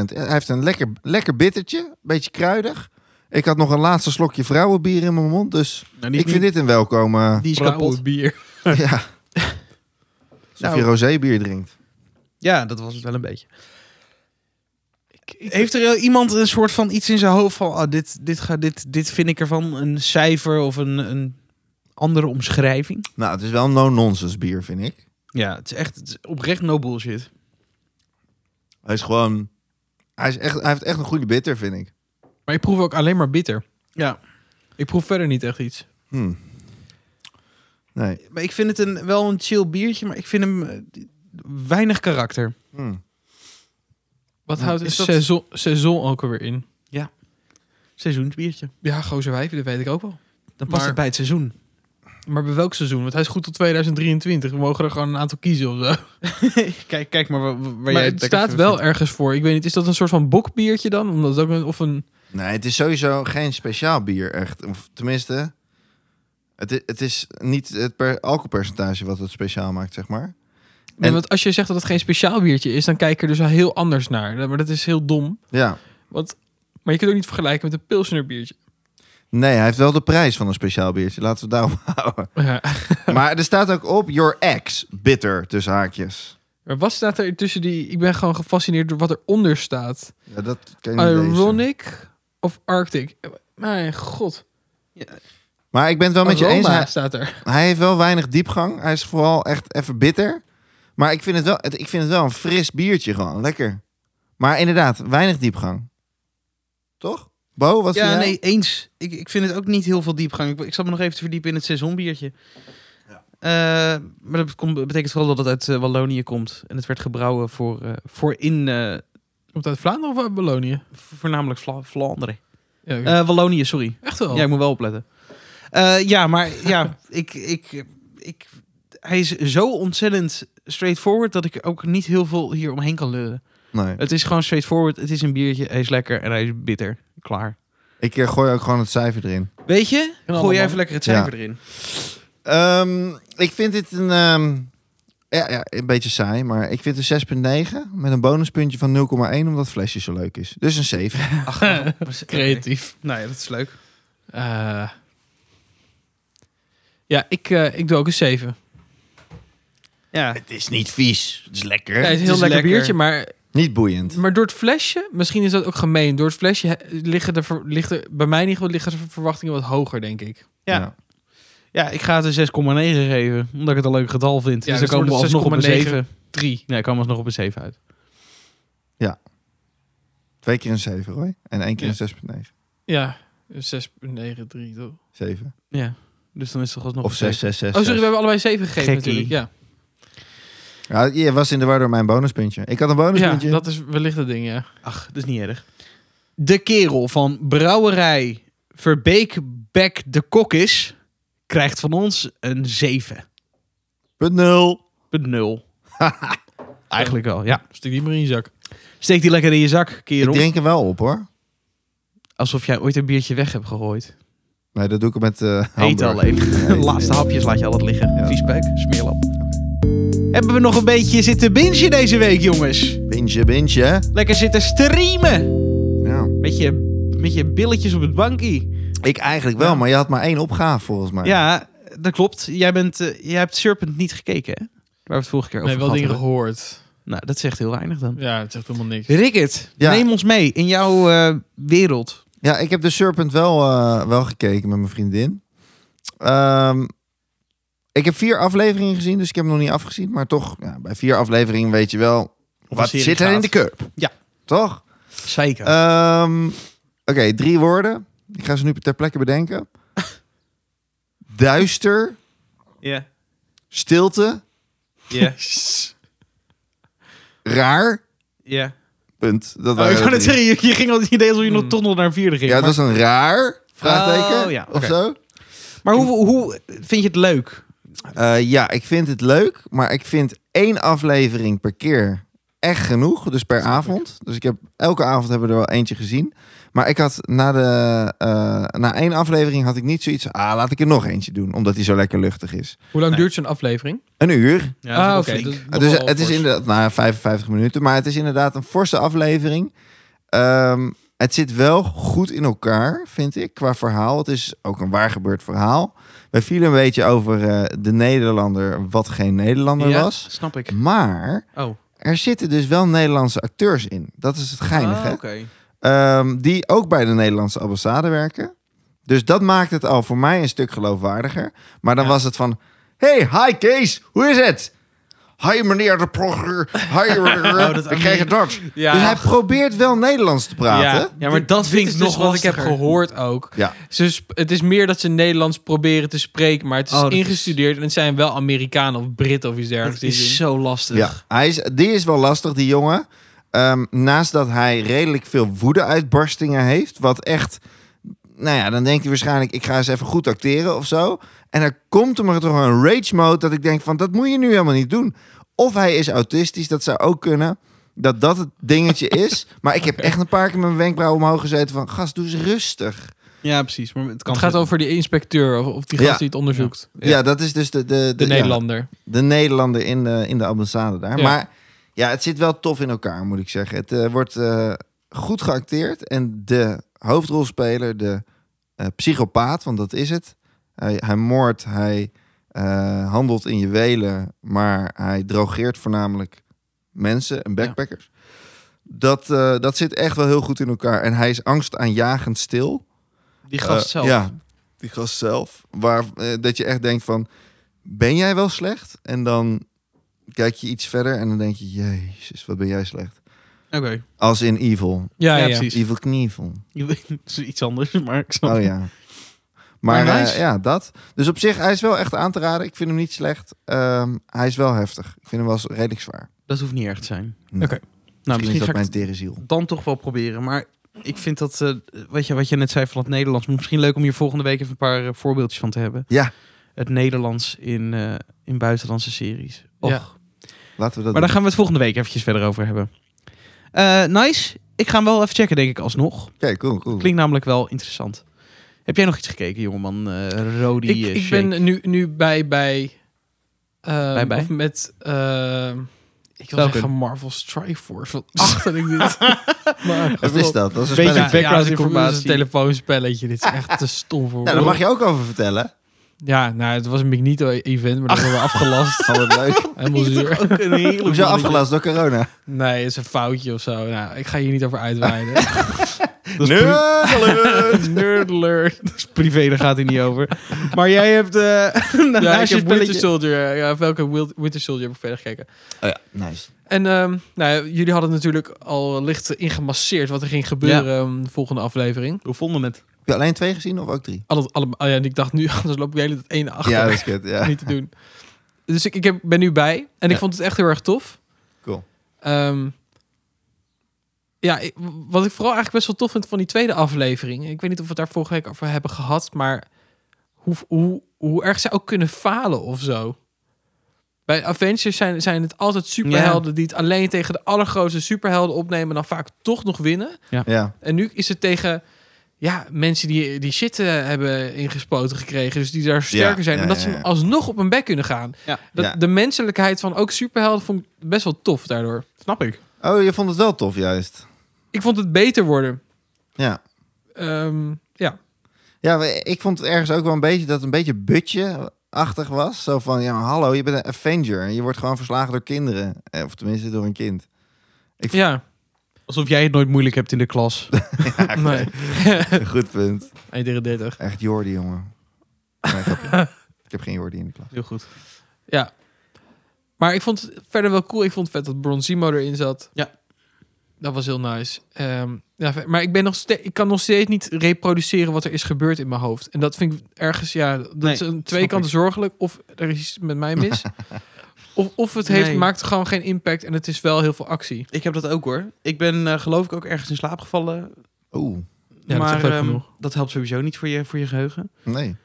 [SPEAKER 3] Hij heeft een lekker, lekker bittertje, een beetje kruidig. Ik had nog een laatste slokje vrouwenbier in mijn mond, dus ik vind dit een welkome... eh,
[SPEAKER 1] Die is
[SPEAKER 2] Blauwe
[SPEAKER 1] kapot.
[SPEAKER 2] bier.
[SPEAKER 3] ja. Als
[SPEAKER 1] Nou.
[SPEAKER 3] je rosébier drinkt.
[SPEAKER 1] Ja, dat was het wel een beetje. Heeft er eh, iemand een soort van iets in zijn hoofd van... ah dit, dit, ga, dit, dit vind ik ervan, een cijfer of een, een andere omschrijving?
[SPEAKER 3] Nou, het is wel een no-nonsense bier, vind ik.
[SPEAKER 1] Ja, het is echt het is oprecht no bullshit.
[SPEAKER 3] Hij is gewoon... Hij, is echt, hij heeft echt een goede bitter, vind ik.
[SPEAKER 2] Maar ik proef ook alleen maar bitter.
[SPEAKER 1] Ja.
[SPEAKER 2] Ik proef verder niet echt iets.
[SPEAKER 3] Hmm. Nee.
[SPEAKER 1] Maar ik vind het een, wel een chill biertje, maar ik vind hem eh, weinig karakter.
[SPEAKER 3] Hmm.
[SPEAKER 2] Wat
[SPEAKER 1] Ja,
[SPEAKER 2] houdt
[SPEAKER 1] is
[SPEAKER 2] het
[SPEAKER 1] dat-
[SPEAKER 2] seizoen, seizoen ook alweer in?
[SPEAKER 1] Seizoensbiertje.
[SPEAKER 2] Ja, gozerwijven, dat weet ik ook wel.
[SPEAKER 1] Dan past
[SPEAKER 2] Maar-
[SPEAKER 1] het bij het seizoen.
[SPEAKER 2] Maar bij welk seizoen? Want hij is goed tot 2023. We mogen er gewoon een aantal kiezen of zo.
[SPEAKER 1] kijk, kijk maar waar, waar
[SPEAKER 2] maar
[SPEAKER 1] jij...
[SPEAKER 2] het staat wel ergens voor. Ik weet niet, is dat een soort van bokbiertje dan? Omdat het ook een, of een...
[SPEAKER 3] Nee, het is sowieso geen speciaal bier, echt. Of tenminste, het is, het is niet het per alcoholpercentage wat het speciaal maakt, zeg maar.
[SPEAKER 2] Nee, want als je zegt dat het geen speciaal biertje is, dan kijk je er dus wel heel anders naar. Maar dat is heel dom.
[SPEAKER 3] Ja.
[SPEAKER 2] Want, maar je kunt het ook niet vergelijken met een pilsner biertje.
[SPEAKER 3] Nee, hij heeft wel de prijs van een speciaal biertje. Laten we het daarop houden.
[SPEAKER 2] Ja.
[SPEAKER 3] maar er staat ook op, your ex, bitter, tussen haakjes.
[SPEAKER 2] Maar wat staat er tussen die... Ik ben gewoon gefascineerd door wat eronder staat.
[SPEAKER 3] Ja, dat kan je niet lezen.
[SPEAKER 2] Ironic of Arctic? Mijn god.
[SPEAKER 3] Maar ik ben het wel met je eens.
[SPEAKER 2] Aroma
[SPEAKER 3] Hij,
[SPEAKER 2] staat er.
[SPEAKER 3] hij heeft wel weinig diepgang. Hij is vooral echt even bitter. Maar ik vind het wel, het- ik vind het wel een fris biertje gewoon. Lekker. Maar inderdaad, weinig diepgang. Toch? Bo, wat
[SPEAKER 1] Ja,
[SPEAKER 3] vind jij?
[SPEAKER 1] nee, eens. Ik, ik vind het ook niet heel veel diepgang. Ik, ik zat me nog even te verdiepen in het seizoenbiertje. Eh, maar dat komt- betekent vooral dat het uit eh, Wallonië komt. En het werd gebrouwen voor, eh, voor in eh,
[SPEAKER 2] Komt uit Vlaanderen of uit Belonië?
[SPEAKER 1] vo- voornamelijk Vla- Vlaanderen.
[SPEAKER 2] Ja, ik-
[SPEAKER 1] Eh, Wallonië, sorry.
[SPEAKER 2] echt wel.
[SPEAKER 1] Ja, ik moet wel opletten. Eh, ja, maar ja, ik, ik, ik, hij is zo ontzettend straightforward dat ik ook niet heel veel hier omheen kan lullen.
[SPEAKER 3] Nee.
[SPEAKER 1] Het is gewoon straightforward. Het is een biertje. Hij is lekker en hij is bitter. Klaar.
[SPEAKER 3] Ik eh, gooi ook gewoon het cijfer erin.
[SPEAKER 1] Weet je? Gooi
[SPEAKER 2] allemaal.
[SPEAKER 1] jij even lekker het cijfer
[SPEAKER 3] Ja.
[SPEAKER 1] erin.
[SPEAKER 3] Ehm, ik vind dit een, ehm, ja, ja, een beetje saai, maar ik vind een 6,9 met een bonuspuntje van 0,1 omdat het flesje zo leuk is. Dus een 7.
[SPEAKER 2] Creatief.
[SPEAKER 1] Nou ja, dat is leuk.
[SPEAKER 2] Eh, ja, ik, eh, ik doe ook een 7.
[SPEAKER 1] Ja.
[SPEAKER 3] het is niet vies. Het is lekker.
[SPEAKER 2] Ja, het is een heel
[SPEAKER 1] is
[SPEAKER 2] lekker,
[SPEAKER 1] lekker.
[SPEAKER 2] biertje, maar,
[SPEAKER 3] Niet boeiend.
[SPEAKER 2] maar door het flesje, misschien is dat ook gemeen. Door het flesje eh, liggen de, ver- ligt er- bij mij in ieder geval liggen de verwachtingen wat hoger, denk ik.
[SPEAKER 1] Ja. ja, ik ga het een 6,9 geven. Omdat ik het een leuk getal vind.
[SPEAKER 2] Ja,
[SPEAKER 1] dus
[SPEAKER 2] dus
[SPEAKER 1] dan komen we
[SPEAKER 2] wordt het
[SPEAKER 1] alsnog op een
[SPEAKER 2] 6,9.
[SPEAKER 1] 7.
[SPEAKER 2] 3.
[SPEAKER 1] Nee, ik kwam alsnog op een 7 uit.
[SPEAKER 3] Twee keer een 7, hoor. En één keer
[SPEAKER 2] Ja.
[SPEAKER 3] een 6,9.
[SPEAKER 2] Ja, 6,9, 3. toch?
[SPEAKER 3] 7.
[SPEAKER 1] Ja. Dus dan is het toch alsnog
[SPEAKER 3] Of
[SPEAKER 1] een
[SPEAKER 3] 6,
[SPEAKER 1] zeven.
[SPEAKER 3] 6, 6.
[SPEAKER 2] Oh, sorry, we hebben allebei 7 gegeven
[SPEAKER 1] Gekkie.
[SPEAKER 2] natuurlijk. Ja.
[SPEAKER 3] Ja, je was in de war door mijn bonuspuntje. Ik had een
[SPEAKER 2] ja,
[SPEAKER 3] bonuspuntje.
[SPEAKER 2] dat is wellicht het ding, ja.
[SPEAKER 1] Ach, dat is niet erg. De kerel van brouwerij Verbeek Beck de Kokkis krijgt van ons een 7.
[SPEAKER 3] Punt 0.
[SPEAKER 1] Met 0. Eigenlijk wel, ja.
[SPEAKER 2] Stuk die maar in je zak.
[SPEAKER 1] Steek die lekker in je zak,
[SPEAKER 3] Ik
[SPEAKER 1] kerel.
[SPEAKER 3] drink hem wel op, hoor.
[SPEAKER 1] Alsof jij ooit een biertje weg hebt gegooid.
[SPEAKER 3] Nee, dat doe ik met eh
[SPEAKER 1] Eet
[SPEAKER 3] hamburger.
[SPEAKER 1] alleen. De laatste hapjes laat je altijd liggen.
[SPEAKER 3] Ja.
[SPEAKER 1] Vies peuk, smeerlap. Hebben we nog een beetje zitten bingen deze week, jongens?
[SPEAKER 3] Bintje, bintje.
[SPEAKER 1] Lekker zitten streamen.
[SPEAKER 3] Ja.
[SPEAKER 1] Met je, met je billetjes op het bankie.
[SPEAKER 3] Ik eigenlijk wel, maar je had maar één opgave, volgens mij.
[SPEAKER 1] Ja, dat klopt. Jij, bent, eh, jij hebt Serpent niet gekeken, hè? Waar we het vorige keer over
[SPEAKER 2] Nee, wel
[SPEAKER 1] gehad
[SPEAKER 2] dingen
[SPEAKER 1] hebben.
[SPEAKER 2] gehoord.
[SPEAKER 1] Nou, dat zegt heel weinig dan.
[SPEAKER 2] Ja, het zegt helemaal niks.
[SPEAKER 1] Rickert,
[SPEAKER 3] Ja.
[SPEAKER 1] neem ons mee in jouw eh, wereld.
[SPEAKER 3] Ja, ik heb de Serpent wel, eh, wel gekeken met mijn vriendin. Ehm, ik heb vier afleveringen gezien, dus ik heb hem nog niet afgezien. Maar toch, ja, bij vier afleveringen weet je wel...
[SPEAKER 1] een
[SPEAKER 3] wat
[SPEAKER 1] serie
[SPEAKER 3] zit er in
[SPEAKER 1] gaat.
[SPEAKER 3] de cup?
[SPEAKER 1] Ja.
[SPEAKER 3] Toch?
[SPEAKER 1] Zeker.
[SPEAKER 3] Ehm, Oké, drie woorden. Ik ga ze nu ter plekke bedenken. Duister,
[SPEAKER 1] Ja.
[SPEAKER 3] stilte,
[SPEAKER 1] Ja.
[SPEAKER 3] raar.
[SPEAKER 1] Ja.
[SPEAKER 3] Punt. Dat
[SPEAKER 1] Oh, ik
[SPEAKER 3] waren
[SPEAKER 1] wou
[SPEAKER 3] de
[SPEAKER 1] net
[SPEAKER 3] drie.
[SPEAKER 1] zeggen, je, je ging al, je deed alsof je nog toch nog naar een vierde ging.
[SPEAKER 3] Ja,
[SPEAKER 1] maar
[SPEAKER 3] dat was een raar vraagteken
[SPEAKER 1] Oh, ja,
[SPEAKER 3] of
[SPEAKER 1] oké.
[SPEAKER 3] zo.
[SPEAKER 1] maar hoe, hoe vind je het leuk?
[SPEAKER 3] Eh, ja, ik vind het leuk, maar ik vind één aflevering per keer echt genoeg. Dus per avond. Dus ik heb elke avond hebben we er wel eentje gezien. Maar ik had na, de, eh, na één aflevering had ik niet zoiets. Ah, laat ik er nog eentje doen, omdat die zo lekker luchtig is.
[SPEAKER 2] Hoe lang
[SPEAKER 1] Nee.
[SPEAKER 2] duurt zo'n aflevering? Ah,
[SPEAKER 3] Een uur.
[SPEAKER 1] Ja, Ah, dat is ook
[SPEAKER 2] dat
[SPEAKER 1] flink.
[SPEAKER 2] is
[SPEAKER 3] dus
[SPEAKER 2] nogal
[SPEAKER 3] het is
[SPEAKER 2] fors.
[SPEAKER 3] inderdaad na 55 minuten, maar het is inderdaad een forse aflevering. Ehm, het zit wel goed in elkaar, vind ik, qua verhaal. Het is ook een waar gebeurd verhaal. We vielen een beetje over eh, de Nederlander, wat geen Nederlander
[SPEAKER 1] Ja,
[SPEAKER 3] was.
[SPEAKER 1] snap ik.
[SPEAKER 3] Maar
[SPEAKER 1] Oh,
[SPEAKER 3] er zitten dus wel Nederlandse acteurs in. Dat is het geinige.
[SPEAKER 1] Ah,
[SPEAKER 3] hè?
[SPEAKER 1] oké.
[SPEAKER 3] Ehm, die ook bij de Nederlandse ambassade werken. Dus dat maakt het al voor mij een stuk geloofwaardiger. Maar dan
[SPEAKER 1] Ja.
[SPEAKER 3] was het van... Hey, hi Kees, hoe is het? Hi meneer de progger, hi
[SPEAKER 1] Oh, dat
[SPEAKER 3] ik kreeg het Dutch.
[SPEAKER 2] Ja.
[SPEAKER 3] Dus hij probeert wel Nederlands te praten.
[SPEAKER 1] Ja, maar dat
[SPEAKER 2] Dit
[SPEAKER 1] vind
[SPEAKER 2] is
[SPEAKER 1] ik
[SPEAKER 2] dus
[SPEAKER 1] nog
[SPEAKER 2] wat ik heb
[SPEAKER 1] lastiger.
[SPEAKER 2] gehoord ook.
[SPEAKER 3] Ja.
[SPEAKER 2] Ze sp- het is meer dat ze Nederlands proberen te spreken, maar het is
[SPEAKER 1] Oh, dat is-
[SPEAKER 2] ingestudeerd en het zijn wel Amerikanen of Britten of iets dergelijks.
[SPEAKER 1] Dat
[SPEAKER 2] die het
[SPEAKER 1] is
[SPEAKER 2] doen.
[SPEAKER 1] zo lastig.
[SPEAKER 3] Ja, hij is, die is wel lastig, die jongen. Ehm, naast dat hij redelijk veel woede-uitbarstingen heeft, wat echt... Nou ja, dan denkt hij waarschijnlijk, ik ga eens even goed acteren of zo. En dan komt er maar toch een rage mode dat ik denk van, dat moet je nu helemaal niet doen. Of hij is autistisch, dat zou ook kunnen. Dat dat het dingetje is. Maar ik heb echt een paar keer mijn wenkbrauw omhoog gezeten van, gast, doe eens rustig.
[SPEAKER 1] Ja, precies. Maar het kan
[SPEAKER 2] Het gaat over die inspecteur of, of die gast
[SPEAKER 3] Ja.
[SPEAKER 2] die het onderzoekt.
[SPEAKER 3] Ja, dat is dus de... De, de,
[SPEAKER 2] De
[SPEAKER 3] ja,
[SPEAKER 2] Nederlander.
[SPEAKER 3] de Nederlander in de, in de ambassade daar.
[SPEAKER 2] Ja.
[SPEAKER 3] Maar ja, het zit wel tof in elkaar, moet ik zeggen. Het eh, wordt eh, goed geacteerd. En de hoofdrolspeler, de eh, psychopaat, want dat is het. Hij, hij moordt, hij eh, handelt in juwelen, maar hij drogeert voornamelijk mensen en backpackers. Dat, eh, dat zit echt wel heel goed in elkaar. En hij is angstaanjagend stil.
[SPEAKER 1] die gast
[SPEAKER 3] Eh,
[SPEAKER 1] zelf.
[SPEAKER 3] Ja, die gast zelf. Waar, eh, dat je echt denkt van, ben jij wel slecht? En dan kijk je iets verder en dan denk je, jezus, wat ben jij slecht.
[SPEAKER 1] Oké.
[SPEAKER 3] Als in Evil.
[SPEAKER 2] Ja, ja,
[SPEAKER 1] Ja, precies.
[SPEAKER 3] Evil Knievel.
[SPEAKER 1] Dat is iets anders, maar ik snap
[SPEAKER 3] Oh
[SPEAKER 1] het.
[SPEAKER 3] ja. Maar
[SPEAKER 1] Maar
[SPEAKER 3] eh,
[SPEAKER 1] nice.
[SPEAKER 3] ja, dat. Dus op zich, hij is wel echt aan te raden. Ik vind hem niet slecht. Ehm, hij is wel heftig. Ik vind hem wel redelijk zwaar.
[SPEAKER 1] Dat hoeft niet erg te zijn.
[SPEAKER 3] Nee.
[SPEAKER 2] Oké.
[SPEAKER 1] Nou,
[SPEAKER 3] Misschien is
[SPEAKER 1] misschien
[SPEAKER 3] dat
[SPEAKER 1] ga ik
[SPEAKER 3] mijn tere ziel.
[SPEAKER 1] het dan toch wel proberen. Maar ik vind dat, eh, wat, je, wat je net zei van het Nederlands, misschien leuk om hier volgende week even een paar eh, voorbeeldjes van te hebben.
[SPEAKER 3] Ja.
[SPEAKER 1] Het Nederlands in, eh, in buitenlandse series. Och.
[SPEAKER 2] Ja.
[SPEAKER 3] Laten we dat
[SPEAKER 1] Maar daar
[SPEAKER 3] doen.
[SPEAKER 1] gaan we het volgende week eventjes verder over hebben. Eh, nice. Ik ga hem wel even checken, denk ik, alsnog.
[SPEAKER 3] Oké, cool, cool.
[SPEAKER 1] Klinkt namelijk wel interessant. Heb jij nog iets gekeken, jongeman? eh Rodi
[SPEAKER 2] Ik,
[SPEAKER 1] eh,
[SPEAKER 2] ik
[SPEAKER 1] Shake?
[SPEAKER 2] ben nu, nu bij bij, ehm,
[SPEAKER 1] Bij bij?
[SPEAKER 2] Of met, ehm, ik wil
[SPEAKER 1] Welke?
[SPEAKER 2] zeggen Marvel Strike Force. Wat achter ik dit. maar,
[SPEAKER 3] Wat is dat? Dat is een
[SPEAKER 1] Beetje
[SPEAKER 3] spelletje.
[SPEAKER 1] background
[SPEAKER 2] dit komt- dit is
[SPEAKER 1] informatie.
[SPEAKER 2] Een telefoonspelletje. Dit is echt te stom voor
[SPEAKER 3] Ja, daar
[SPEAKER 2] woorden.
[SPEAKER 3] mag je ook over vertellen.
[SPEAKER 2] Ja, nou, het was een Magneto-event, maar dat hebben we afgelast.
[SPEAKER 3] Van het Oh, leuk.
[SPEAKER 2] Helemaal zuur.
[SPEAKER 1] Ook een hele
[SPEAKER 3] Hoezo afgelast door corona?
[SPEAKER 2] Nee, het is een foutje of zo. Nou, ik ga hier niet over uitweiden.
[SPEAKER 3] Nerdelen.
[SPEAKER 2] Nerd alert.
[SPEAKER 1] privé, daar gaat hij niet over. Maar jij hebt eh
[SPEAKER 2] Ja,
[SPEAKER 1] naast
[SPEAKER 2] ik
[SPEAKER 1] je
[SPEAKER 2] heb Winter
[SPEAKER 1] spelletje...
[SPEAKER 2] Soldier. eh, Ja, welke Wil- Winter Soldier heb ik verder gekeken?
[SPEAKER 3] Oh ja, nice.
[SPEAKER 2] En ehm, nou, ja, jullie hadden natuurlijk al licht ingemasseerd wat er ging gebeuren ehm, de volgende aflevering.
[SPEAKER 1] Hoe vonden we het?
[SPEAKER 3] Heb je alleen twee gezien of ook drie?
[SPEAKER 2] Alle, alle, oh ja, en ik dacht nu, anders loop ik de hele tijd één achter.
[SPEAKER 3] Ja, dat is kut. Ja.
[SPEAKER 2] Niet te doen. Dus ik, ik heb, ben nu bij. En ik
[SPEAKER 3] Ja.
[SPEAKER 2] vond het echt heel erg tof.
[SPEAKER 3] Cool.
[SPEAKER 2] Ehm, ja, ik- wat ik vooral eigenlijk best wel tof vind van die tweede aflevering. Ik weet niet of we het daar vorige week over hebben gehad, maar hoe, hoe, hoe erg zij ook kunnen falen of zo. Bij Avengers zijn, zijn het altijd superhelden die het alleen tegen de allergrootste superhelden opnemen en dan vaak toch nog winnen.
[SPEAKER 3] Ja.
[SPEAKER 2] En nu is het tegen ja, mensen die, die shit eh, hebben ingespoten gekregen, dus die daar sterker zijn.
[SPEAKER 3] ja,
[SPEAKER 2] en dat
[SPEAKER 3] ja,
[SPEAKER 2] ze
[SPEAKER 3] ja.
[SPEAKER 2] alsnog op hun bek kunnen gaan.
[SPEAKER 1] Ja.
[SPEAKER 2] Dat,
[SPEAKER 3] Ja.
[SPEAKER 2] De menselijkheid van ook superhelden vond ik best wel tof daardoor.
[SPEAKER 1] Snap ik.
[SPEAKER 3] Oh, je vond het wel tof juist.
[SPEAKER 2] Ik vond het beter worden.
[SPEAKER 3] Ja.
[SPEAKER 2] Ehm, ja.
[SPEAKER 3] Ja, maar ik vond het ergens ook wel een beetje dat het een beetje butje-achtig was. Zo van, ja, maar hallo, je bent een Avenger. En je wordt gewoon verslagen door kinderen. Eh, Of tenminste door een kind.
[SPEAKER 2] Ja.
[SPEAKER 1] Alsof jij het nooit moeilijk hebt in de klas.
[SPEAKER 2] Nee.
[SPEAKER 3] Goed punt.
[SPEAKER 2] 1 tegen 30.
[SPEAKER 3] Echt Jordi, jongen. Nee, grapje. ik heb geen Jordi in de klas.
[SPEAKER 1] Heel goed.
[SPEAKER 2] Ja. Maar ik vond het verder wel cool. Ik vond het vet dat Bronzimo erin zat.
[SPEAKER 1] Ja.
[SPEAKER 2] Dat was heel nice. Ehm, ja, vet. maar ik, ben nog ste- ik kan nog steeds niet reproduceren wat er is gebeurd in mijn hoofd. En dat vind ik ergens, ja, dat
[SPEAKER 1] Nee,
[SPEAKER 2] is aan twee
[SPEAKER 1] snap
[SPEAKER 2] kanten
[SPEAKER 1] ik.
[SPEAKER 2] zorgelijk. Of er is iets met mij mis. of, of het heeft,
[SPEAKER 1] Nee.
[SPEAKER 2] maakt gewoon geen impact en het is wel heel veel actie.
[SPEAKER 1] Ik heb dat ook hoor. Ik ben eh, geloof ik ook ergens in slaap gevallen.
[SPEAKER 3] Oeh,
[SPEAKER 2] Ja, dat
[SPEAKER 1] maar
[SPEAKER 2] is ook
[SPEAKER 1] ehm,
[SPEAKER 2] genoeg.
[SPEAKER 1] dat helpt sowieso niet voor je, voor je geheugen.
[SPEAKER 3] nee.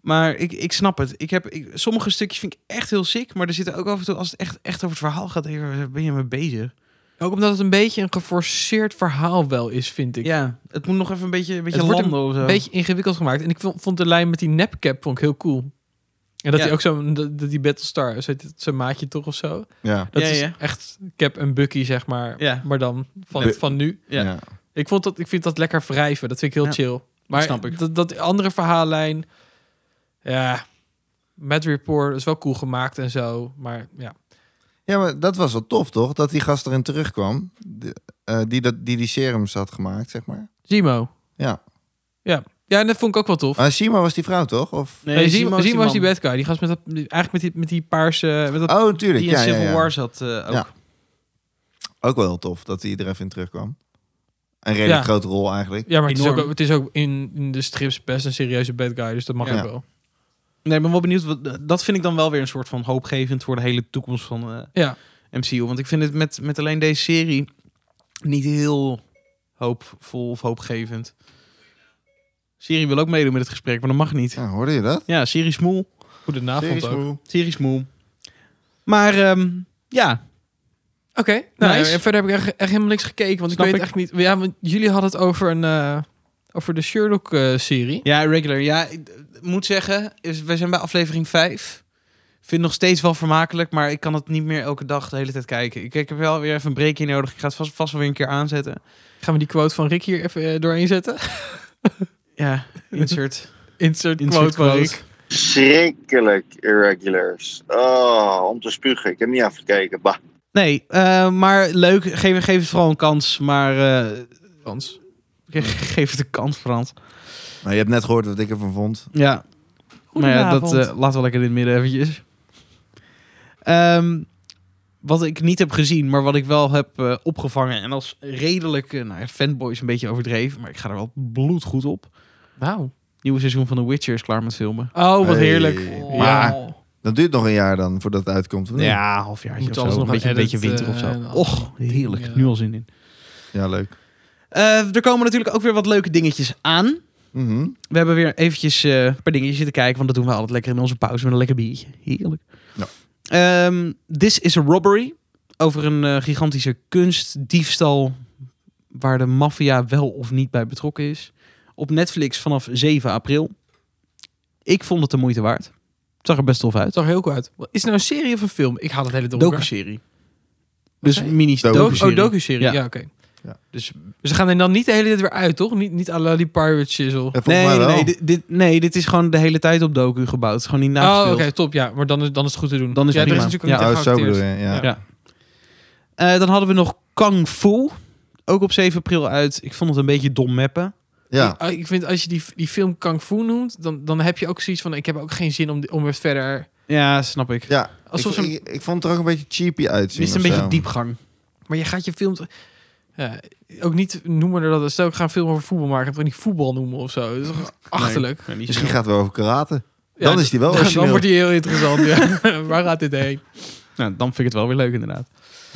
[SPEAKER 1] Maar ik, ik snap het. Ik heb, ik, sommige stukjes vind ik echt heel sick. Maar er zitten ook af en toe, als het echt, echt over het verhaal gaat, denk ik, waar ben je mee bezig?
[SPEAKER 2] Ook omdat het een beetje een geforceerd verhaal wel is, vind ik.
[SPEAKER 1] Ja, het moet nog even een beetje, een beetje
[SPEAKER 2] Het wordt
[SPEAKER 1] landen of zo.
[SPEAKER 2] Een beetje ingewikkeld gemaakt. En ik vond vond de lijn met die nepcap vond ik heel cool. En dat
[SPEAKER 1] Ja.
[SPEAKER 2] hij ook zo, dat dat die Battlestar, zo heet het, zijn maatje toch of zo.
[SPEAKER 3] Ja.
[SPEAKER 2] Dat
[SPEAKER 1] Ja,
[SPEAKER 2] is
[SPEAKER 1] ja.
[SPEAKER 2] echt Cap en Bucky, zeg maar.
[SPEAKER 1] Ja.
[SPEAKER 2] Maar dan van,
[SPEAKER 3] Nee.
[SPEAKER 2] van nu.
[SPEAKER 1] Ja.
[SPEAKER 3] ja.
[SPEAKER 2] Ik, vond dat, ik vind dat lekker wrijven. Dat vind ik heel chill. Maar
[SPEAKER 1] snap ik.
[SPEAKER 2] Dat, dat andere verhaallijn... Ja... Mad Report is wel cool gemaakt en zo. Maar ja.
[SPEAKER 3] Ja, maar dat was wel tof, toch? Dat die gast erin terugkwam. De- eh, die, dat, die die serums had gemaakt, zeg maar.
[SPEAKER 2] Zemo.
[SPEAKER 3] Ja.
[SPEAKER 2] Ja. Ja, en dat vond ik ook wel tof.
[SPEAKER 3] Ah, Shima was die vrouw, toch? Of...
[SPEAKER 1] Nee,
[SPEAKER 2] Nee,
[SPEAKER 1] Zemo
[SPEAKER 2] Zemo,
[SPEAKER 1] is
[SPEAKER 2] Zemo was die
[SPEAKER 1] man
[SPEAKER 2] bad guy. Die gast met dat, eigenlijk met die, met die paarse... Met dat,
[SPEAKER 3] Oh, natuurlijk.
[SPEAKER 1] Die in
[SPEAKER 3] Ja, ja,
[SPEAKER 1] Civil
[SPEAKER 3] ja.
[SPEAKER 1] War zat eh, ook.
[SPEAKER 3] Ja. Ook wel heel tof dat hij er even in terugkwam. Een redelijk
[SPEAKER 2] Ja.
[SPEAKER 3] grote rol eigenlijk.
[SPEAKER 2] ja, maar het is,
[SPEAKER 1] enorm.
[SPEAKER 2] ook, het is ook in, in de strips best een serieuze bad guy. Dus dat mag
[SPEAKER 3] Ja.
[SPEAKER 2] ook wel.
[SPEAKER 1] Nee, ik ben wel benieuwd. Wat, dat vind ik dan wel weer een soort van hoopgevend voor de hele toekomst van eh,
[SPEAKER 2] Ja.
[SPEAKER 1] MCU. Want ik vind het met, met alleen deze serie niet heel hoopvol of hoopgevend. Siri wil ook meedoen met het gesprek, maar dat mag niet.
[SPEAKER 3] Ja, hoorde je dat?
[SPEAKER 1] Ja, Siri smoel.
[SPEAKER 2] Goede avond
[SPEAKER 3] Serieus,
[SPEAKER 2] ook.
[SPEAKER 3] moe.
[SPEAKER 1] Siri smoel. Maar ehm, ja,
[SPEAKER 2] Oké, nou,
[SPEAKER 1] Nice.
[SPEAKER 2] en verder heb ik echt, echt helemaal niks gekeken, want
[SPEAKER 1] Snap
[SPEAKER 2] ik weet
[SPEAKER 1] ik.
[SPEAKER 2] echt niet. Ja, want jullie hadden het over een eh, over de Sherlock eh, serie.
[SPEAKER 1] ja, regular. Ja, ik eh, moet zeggen, is, we zijn bij aflevering 5. Vind het nog steeds wel vermakelijk, maar ik kan het niet meer elke dag de hele tijd kijken. Ik, ik heb wel weer even een breekje nodig. Ik ga het vast, vast wel weer een keer aanzetten.
[SPEAKER 2] Gaan we die quote van Rick hier even eh, doorheen zetten?
[SPEAKER 1] Ja, insert. Insert
[SPEAKER 2] Insert, quote van
[SPEAKER 1] quote.
[SPEAKER 2] Rick.
[SPEAKER 6] Schrikkelijk irregulars. Oh, om te spugen. Ik heb niet afgekeken. Bah.
[SPEAKER 1] Nee, eh, maar leuk. Geef, geef het vooral een kans. Maar eh,
[SPEAKER 2] Frans.
[SPEAKER 1] ge- geef het een kans, Frans.
[SPEAKER 3] Nou, je hebt net gehoord wat ik ervan vond.
[SPEAKER 1] Ja, maar ja, dat eh, laten we lekker in het midden eventjes. Ehm, wat ik niet heb gezien, maar wat ik wel heb eh, opgevangen. En als redelijk, eh, nou ja, fanboy is een beetje overdreven. Maar ik ga er wel bloedgoed op.
[SPEAKER 2] Wauw.
[SPEAKER 1] Nieuwe seizoen van The Witcher is klaar met filmen.
[SPEAKER 2] Oh, wat
[SPEAKER 3] Hey,
[SPEAKER 2] heerlijk.
[SPEAKER 3] maar-
[SPEAKER 2] Ja.
[SPEAKER 3] Dat duurt nog een jaar dan voordat het uitkomt. of niet?
[SPEAKER 1] Ja, half jaar.
[SPEAKER 2] Moet
[SPEAKER 1] Moet
[SPEAKER 2] alles
[SPEAKER 1] alles
[SPEAKER 2] nog
[SPEAKER 1] nog eh, een beetje, een beetje
[SPEAKER 2] editen
[SPEAKER 1] winter of
[SPEAKER 2] en
[SPEAKER 1] zo.
[SPEAKER 2] al
[SPEAKER 1] Och,
[SPEAKER 2] die
[SPEAKER 1] heerlijk.
[SPEAKER 2] dingen.
[SPEAKER 1] Nu al zin in.
[SPEAKER 3] ja leuk.
[SPEAKER 1] Eh, er komen natuurlijk ook weer wat leuke dingetjes aan.
[SPEAKER 3] Mhm.
[SPEAKER 1] We hebben weer eventjes eh, een paar dingetjes zitten kijken. Want dat doen we altijd lekker in onze pauze met een lekker biertje. Heerlijk.
[SPEAKER 3] Ja.
[SPEAKER 1] Ehm, This is a Robbery. Over een eh, gigantische kunstdiefstal. Waar de maffia wel of niet bij betrokken is. Op Netflix vanaf 7 april. Ik vond het de moeite waard. Het zag er best tof
[SPEAKER 2] Het
[SPEAKER 1] uit.
[SPEAKER 2] zag er heel cool uit. Is het nou een serie of een film? Ik haal het hele door. elkaar.
[SPEAKER 1] Docuserie. Dus
[SPEAKER 2] zei
[SPEAKER 1] mini
[SPEAKER 3] Docu-
[SPEAKER 2] Docu-
[SPEAKER 1] docuserie.
[SPEAKER 2] oh, docu-serie. Ja,
[SPEAKER 1] Ja.
[SPEAKER 2] oké.
[SPEAKER 3] Ja.
[SPEAKER 1] Dus-
[SPEAKER 2] ze gaan er dan niet de hele tijd weer uit, toch? Niet, niet à la die Pirate Chisel.
[SPEAKER 3] Ja, volgens
[SPEAKER 1] Nee,
[SPEAKER 3] mij
[SPEAKER 1] nee,
[SPEAKER 3] wel.
[SPEAKER 1] nee, dit- dit, nee, dit is gewoon de hele tijd op docu gebouwd. Het is Gewoon niet
[SPEAKER 2] oh, oké,
[SPEAKER 1] nagespeeld.
[SPEAKER 2] top. Ja, maar dan is, dan is het goed te doen.
[SPEAKER 1] Nou, Dan is
[SPEAKER 2] ja,
[SPEAKER 1] het
[SPEAKER 2] er is
[SPEAKER 1] prima.
[SPEAKER 2] natuurlijk ook
[SPEAKER 1] Ja.
[SPEAKER 2] niet
[SPEAKER 3] Oh,
[SPEAKER 2] echt
[SPEAKER 3] zo bedoel je.
[SPEAKER 2] geacteerd.
[SPEAKER 3] Ja.
[SPEAKER 2] Ja.
[SPEAKER 1] Eh, dan hadden we nog Kang Fu. Ook op 7 april uit. Ik vond het een beetje dom meppen.
[SPEAKER 3] Ja.
[SPEAKER 2] Ik, ik vind als je die, die film Kung Fu noemt, dan, dan heb je ook zoiets van: ik heb ook geen zin om, om weer verder.
[SPEAKER 1] Ja, snap ik.
[SPEAKER 3] Ja.
[SPEAKER 2] Alsof
[SPEAKER 3] ik,
[SPEAKER 2] ze-
[SPEAKER 3] ik, ik vond het er ook een beetje cheapy
[SPEAKER 1] Het
[SPEAKER 3] uitzien.
[SPEAKER 1] is een
[SPEAKER 3] of
[SPEAKER 1] beetje
[SPEAKER 3] zo.
[SPEAKER 1] diepgang.
[SPEAKER 2] Maar je gaat je film. ja, ook niet noemen er dat. Stel, ik ga een film over voetbal maken, dan niet voetbal noemen of zo. Dat is toch achterlijk.
[SPEAKER 3] Misschien gaat het wel over karate.
[SPEAKER 2] Ja,
[SPEAKER 3] dan is die wel
[SPEAKER 2] dan, dan
[SPEAKER 3] origineel.
[SPEAKER 2] wordt die heel interessant. ja. Waar gaat dit heen?
[SPEAKER 1] Nou, dan vind ik het wel weer leuk inderdaad.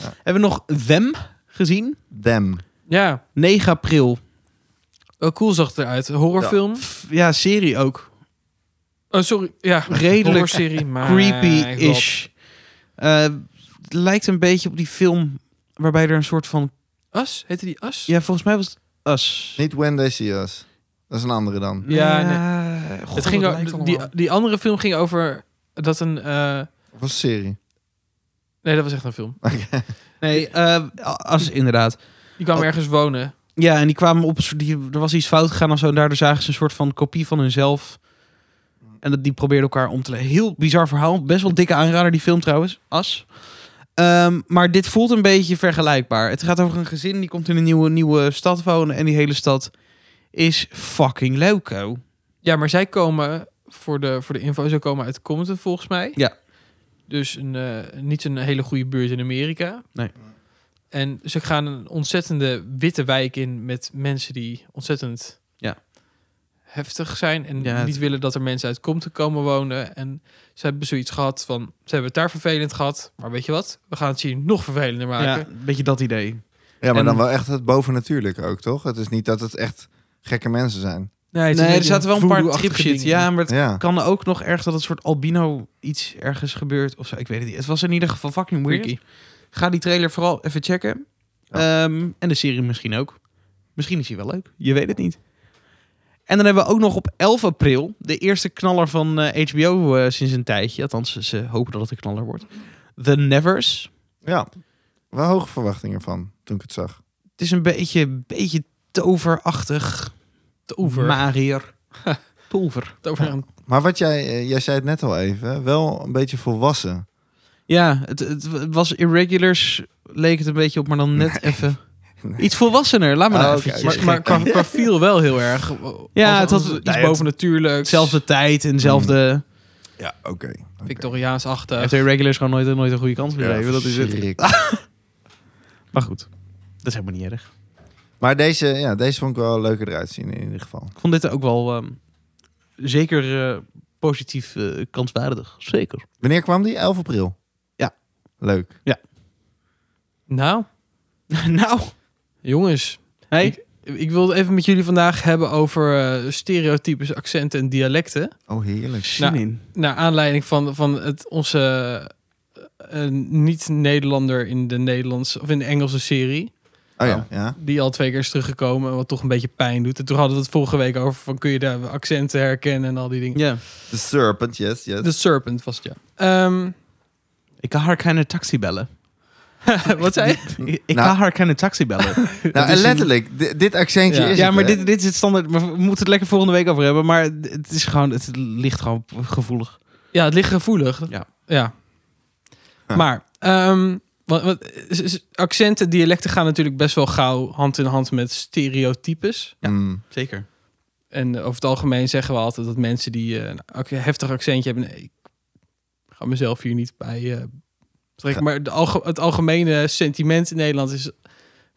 [SPEAKER 3] Ja.
[SPEAKER 1] Hebben we nog Them gezien?
[SPEAKER 3] Them.
[SPEAKER 2] Ja,
[SPEAKER 1] 9 april.
[SPEAKER 2] wel cool zag het eruit. Horrorfilm.
[SPEAKER 1] Pff, Ja, serie ook.
[SPEAKER 2] Oh, sorry. Ja,
[SPEAKER 1] Redelijk
[SPEAKER 2] horrorserie, maar.
[SPEAKER 1] Creepy-ish. Eh, het lijkt een beetje op die film waarbij er een soort van...
[SPEAKER 2] As? Heette die As?
[SPEAKER 1] Ja, volgens mij was het Us.
[SPEAKER 3] Niet When They See Us. Dat is een andere dan.
[SPEAKER 2] Ja, nee.
[SPEAKER 1] nee.
[SPEAKER 2] het ging o- die, die andere film ging over dat een. eh,
[SPEAKER 3] Of een serie.
[SPEAKER 2] nee, dat was echt een film.
[SPEAKER 1] Nee, eh Us inderdaad.
[SPEAKER 2] Die kwam
[SPEAKER 1] Oh.
[SPEAKER 2] ergens wonen.
[SPEAKER 1] Ja, en die kwamen op. een soort- Die, er was iets fout gegaan of zo. En daardoor zagen ze een soort van kopie van hunzelf. En dat, die probeerden elkaar om te leggen. Heel bizar verhaal. Best wel dikke aanrader, die film trouwens. As. Ehm, maar dit voelt een beetje vergelijkbaar. Het gaat over een gezin die komt in een nieuwe, nieuwe stad wonen. En die hele stad is fucking loco.
[SPEAKER 2] Ja, maar zij komen voor de, voor de info, zij komen uit Compton volgens mij.
[SPEAKER 1] Ja.
[SPEAKER 2] Dus een, eh, niet een hele goede buurt in Amerika.
[SPEAKER 1] Nee.
[SPEAKER 2] En ze gaan een ontzettende witte wijk in met mensen die ontzettend
[SPEAKER 1] Ja.
[SPEAKER 2] heftig zijn en
[SPEAKER 1] Ja, het-
[SPEAKER 2] niet willen dat er mensen uit Compton komen wonen. En ze hebben zoiets gehad van, ze hebben het daar vervelend gehad, maar weet je wat? We gaan het hier nog vervelender
[SPEAKER 1] Ja,
[SPEAKER 2] maken.
[SPEAKER 1] een beetje dat idee.
[SPEAKER 3] Ja, maar
[SPEAKER 2] En-
[SPEAKER 3] dan wel echt het bovennatuurlijke ook, toch? Het is niet dat het echt gekke mensen zijn.
[SPEAKER 2] het is
[SPEAKER 1] Nee, er
[SPEAKER 2] beetje
[SPEAKER 1] zaten wel een paar
[SPEAKER 2] voodoo-achtige
[SPEAKER 1] tripshit.
[SPEAKER 2] dingen.
[SPEAKER 1] Ja, maar het
[SPEAKER 3] Ja.
[SPEAKER 1] kan ook nog ergens dat het soort albino iets ergens gebeurt. Of zo. Ik weet het niet. Het was in ieder geval fucking weird.
[SPEAKER 2] Freaky.
[SPEAKER 1] Ga die trailer vooral even checken. Ehm, en de serie misschien ook. Misschien is hij wel leuk. Je weet het niet. En dan hebben we ook nog op 11 april de eerste knaller van eh, HBO eh, sinds een tijdje. Althans, ze- ze hopen dat het een knaller wordt. The Nevers.
[SPEAKER 3] Ja, wel hoge verwachtingen van toen ik het zag.
[SPEAKER 1] Het is een beetje, beetje toverachtig.
[SPEAKER 2] Tover.
[SPEAKER 1] Marier. Pulver.
[SPEAKER 2] Over aan-
[SPEAKER 3] Maar wat jij, eh, jij zei het net al even, wel een beetje volwassen.
[SPEAKER 1] Ja, het, het was Irregulars. Leek het een beetje op, maar dan net even...
[SPEAKER 3] Nee.
[SPEAKER 1] Iets volwassener. Laat me
[SPEAKER 3] Oh,
[SPEAKER 1] nou
[SPEAKER 3] oké.
[SPEAKER 1] eventjes.
[SPEAKER 2] Maar, maar qua, qua feel wel heel erg.
[SPEAKER 1] Ja,
[SPEAKER 2] Als-
[SPEAKER 1] het
[SPEAKER 2] als
[SPEAKER 1] had-
[SPEAKER 2] iets
[SPEAKER 1] nou ja, het-
[SPEAKER 2] bovennatuurlijks.
[SPEAKER 1] Hetzelfde tijd en zelfde...
[SPEAKER 3] Ja, oké.
[SPEAKER 2] Victoriaans-achtig.
[SPEAKER 1] Heeft Irregulars gewoon nooit, nooit een goede kans gegeven. dat is het. Maar goed, dat is helemaal niet erg.
[SPEAKER 3] Maar deze, ja, deze vond ik wel leuker eruit zien in ieder geval.
[SPEAKER 1] Ik vond dit ook wel ehm, zeker eh, positief eh, kanswaardig. Zeker.
[SPEAKER 3] Wanneer kwam die? 11 april?
[SPEAKER 1] Ja.
[SPEAKER 3] Leuk.
[SPEAKER 2] Nou,
[SPEAKER 1] nou,
[SPEAKER 2] jongens.
[SPEAKER 1] hey.
[SPEAKER 2] Ik- Ik wil het even met jullie vandaag hebben over eh, stereotypes, accenten en dialecten.
[SPEAKER 3] Oh, heerlijk.
[SPEAKER 1] zin
[SPEAKER 2] nou,
[SPEAKER 1] in.
[SPEAKER 2] Naar aanleiding van, van het, onze eh, eh, niet-Nederlander in de Nederlandse of in de Engelse serie.
[SPEAKER 3] Oh ja, ja.
[SPEAKER 2] Die al twee keer is teruggekomen, wat toch een beetje pijn doet. En toen hadden we het vorige week over van kun je daar accenten herkennen en al die dingen.
[SPEAKER 1] Ja.
[SPEAKER 3] The Serpent, yes, yes.
[SPEAKER 1] Dus-
[SPEAKER 2] The Serpent was het, ja. Ehm,
[SPEAKER 1] Ik kan haar geen taxi bellen.
[SPEAKER 2] wat zei je?
[SPEAKER 1] Ik ik
[SPEAKER 3] Nou.
[SPEAKER 1] kan haar geen taxi bellen.
[SPEAKER 3] nou, en
[SPEAKER 1] is een-
[SPEAKER 3] letterlijk, di- dit accentje
[SPEAKER 2] Ja.
[SPEAKER 3] is
[SPEAKER 1] ja,
[SPEAKER 3] het,
[SPEAKER 1] maar
[SPEAKER 3] hè?
[SPEAKER 1] dit, dit is het standaard. Maar we moeten het lekker volgende week over hebben. Maar het, is gewoon, het ligt gewoon gevoelig.
[SPEAKER 2] Ja, het ligt gevoelig.
[SPEAKER 1] Ja.
[SPEAKER 2] ja. Maar ehm, wat, wat, s- s- accenten, dialecten gaan natuurlijk best wel gauw hand in hand met stereotypes.
[SPEAKER 3] Mm.
[SPEAKER 1] Zeker.
[SPEAKER 2] En eh, over het algemeen zeggen we altijd dat mensen die eh, een ac- heftig accentje hebben... Nee, ik ga mezelf hier niet bij eh, betrekken. Maar de alge- het algemene sentiment in Nederland is...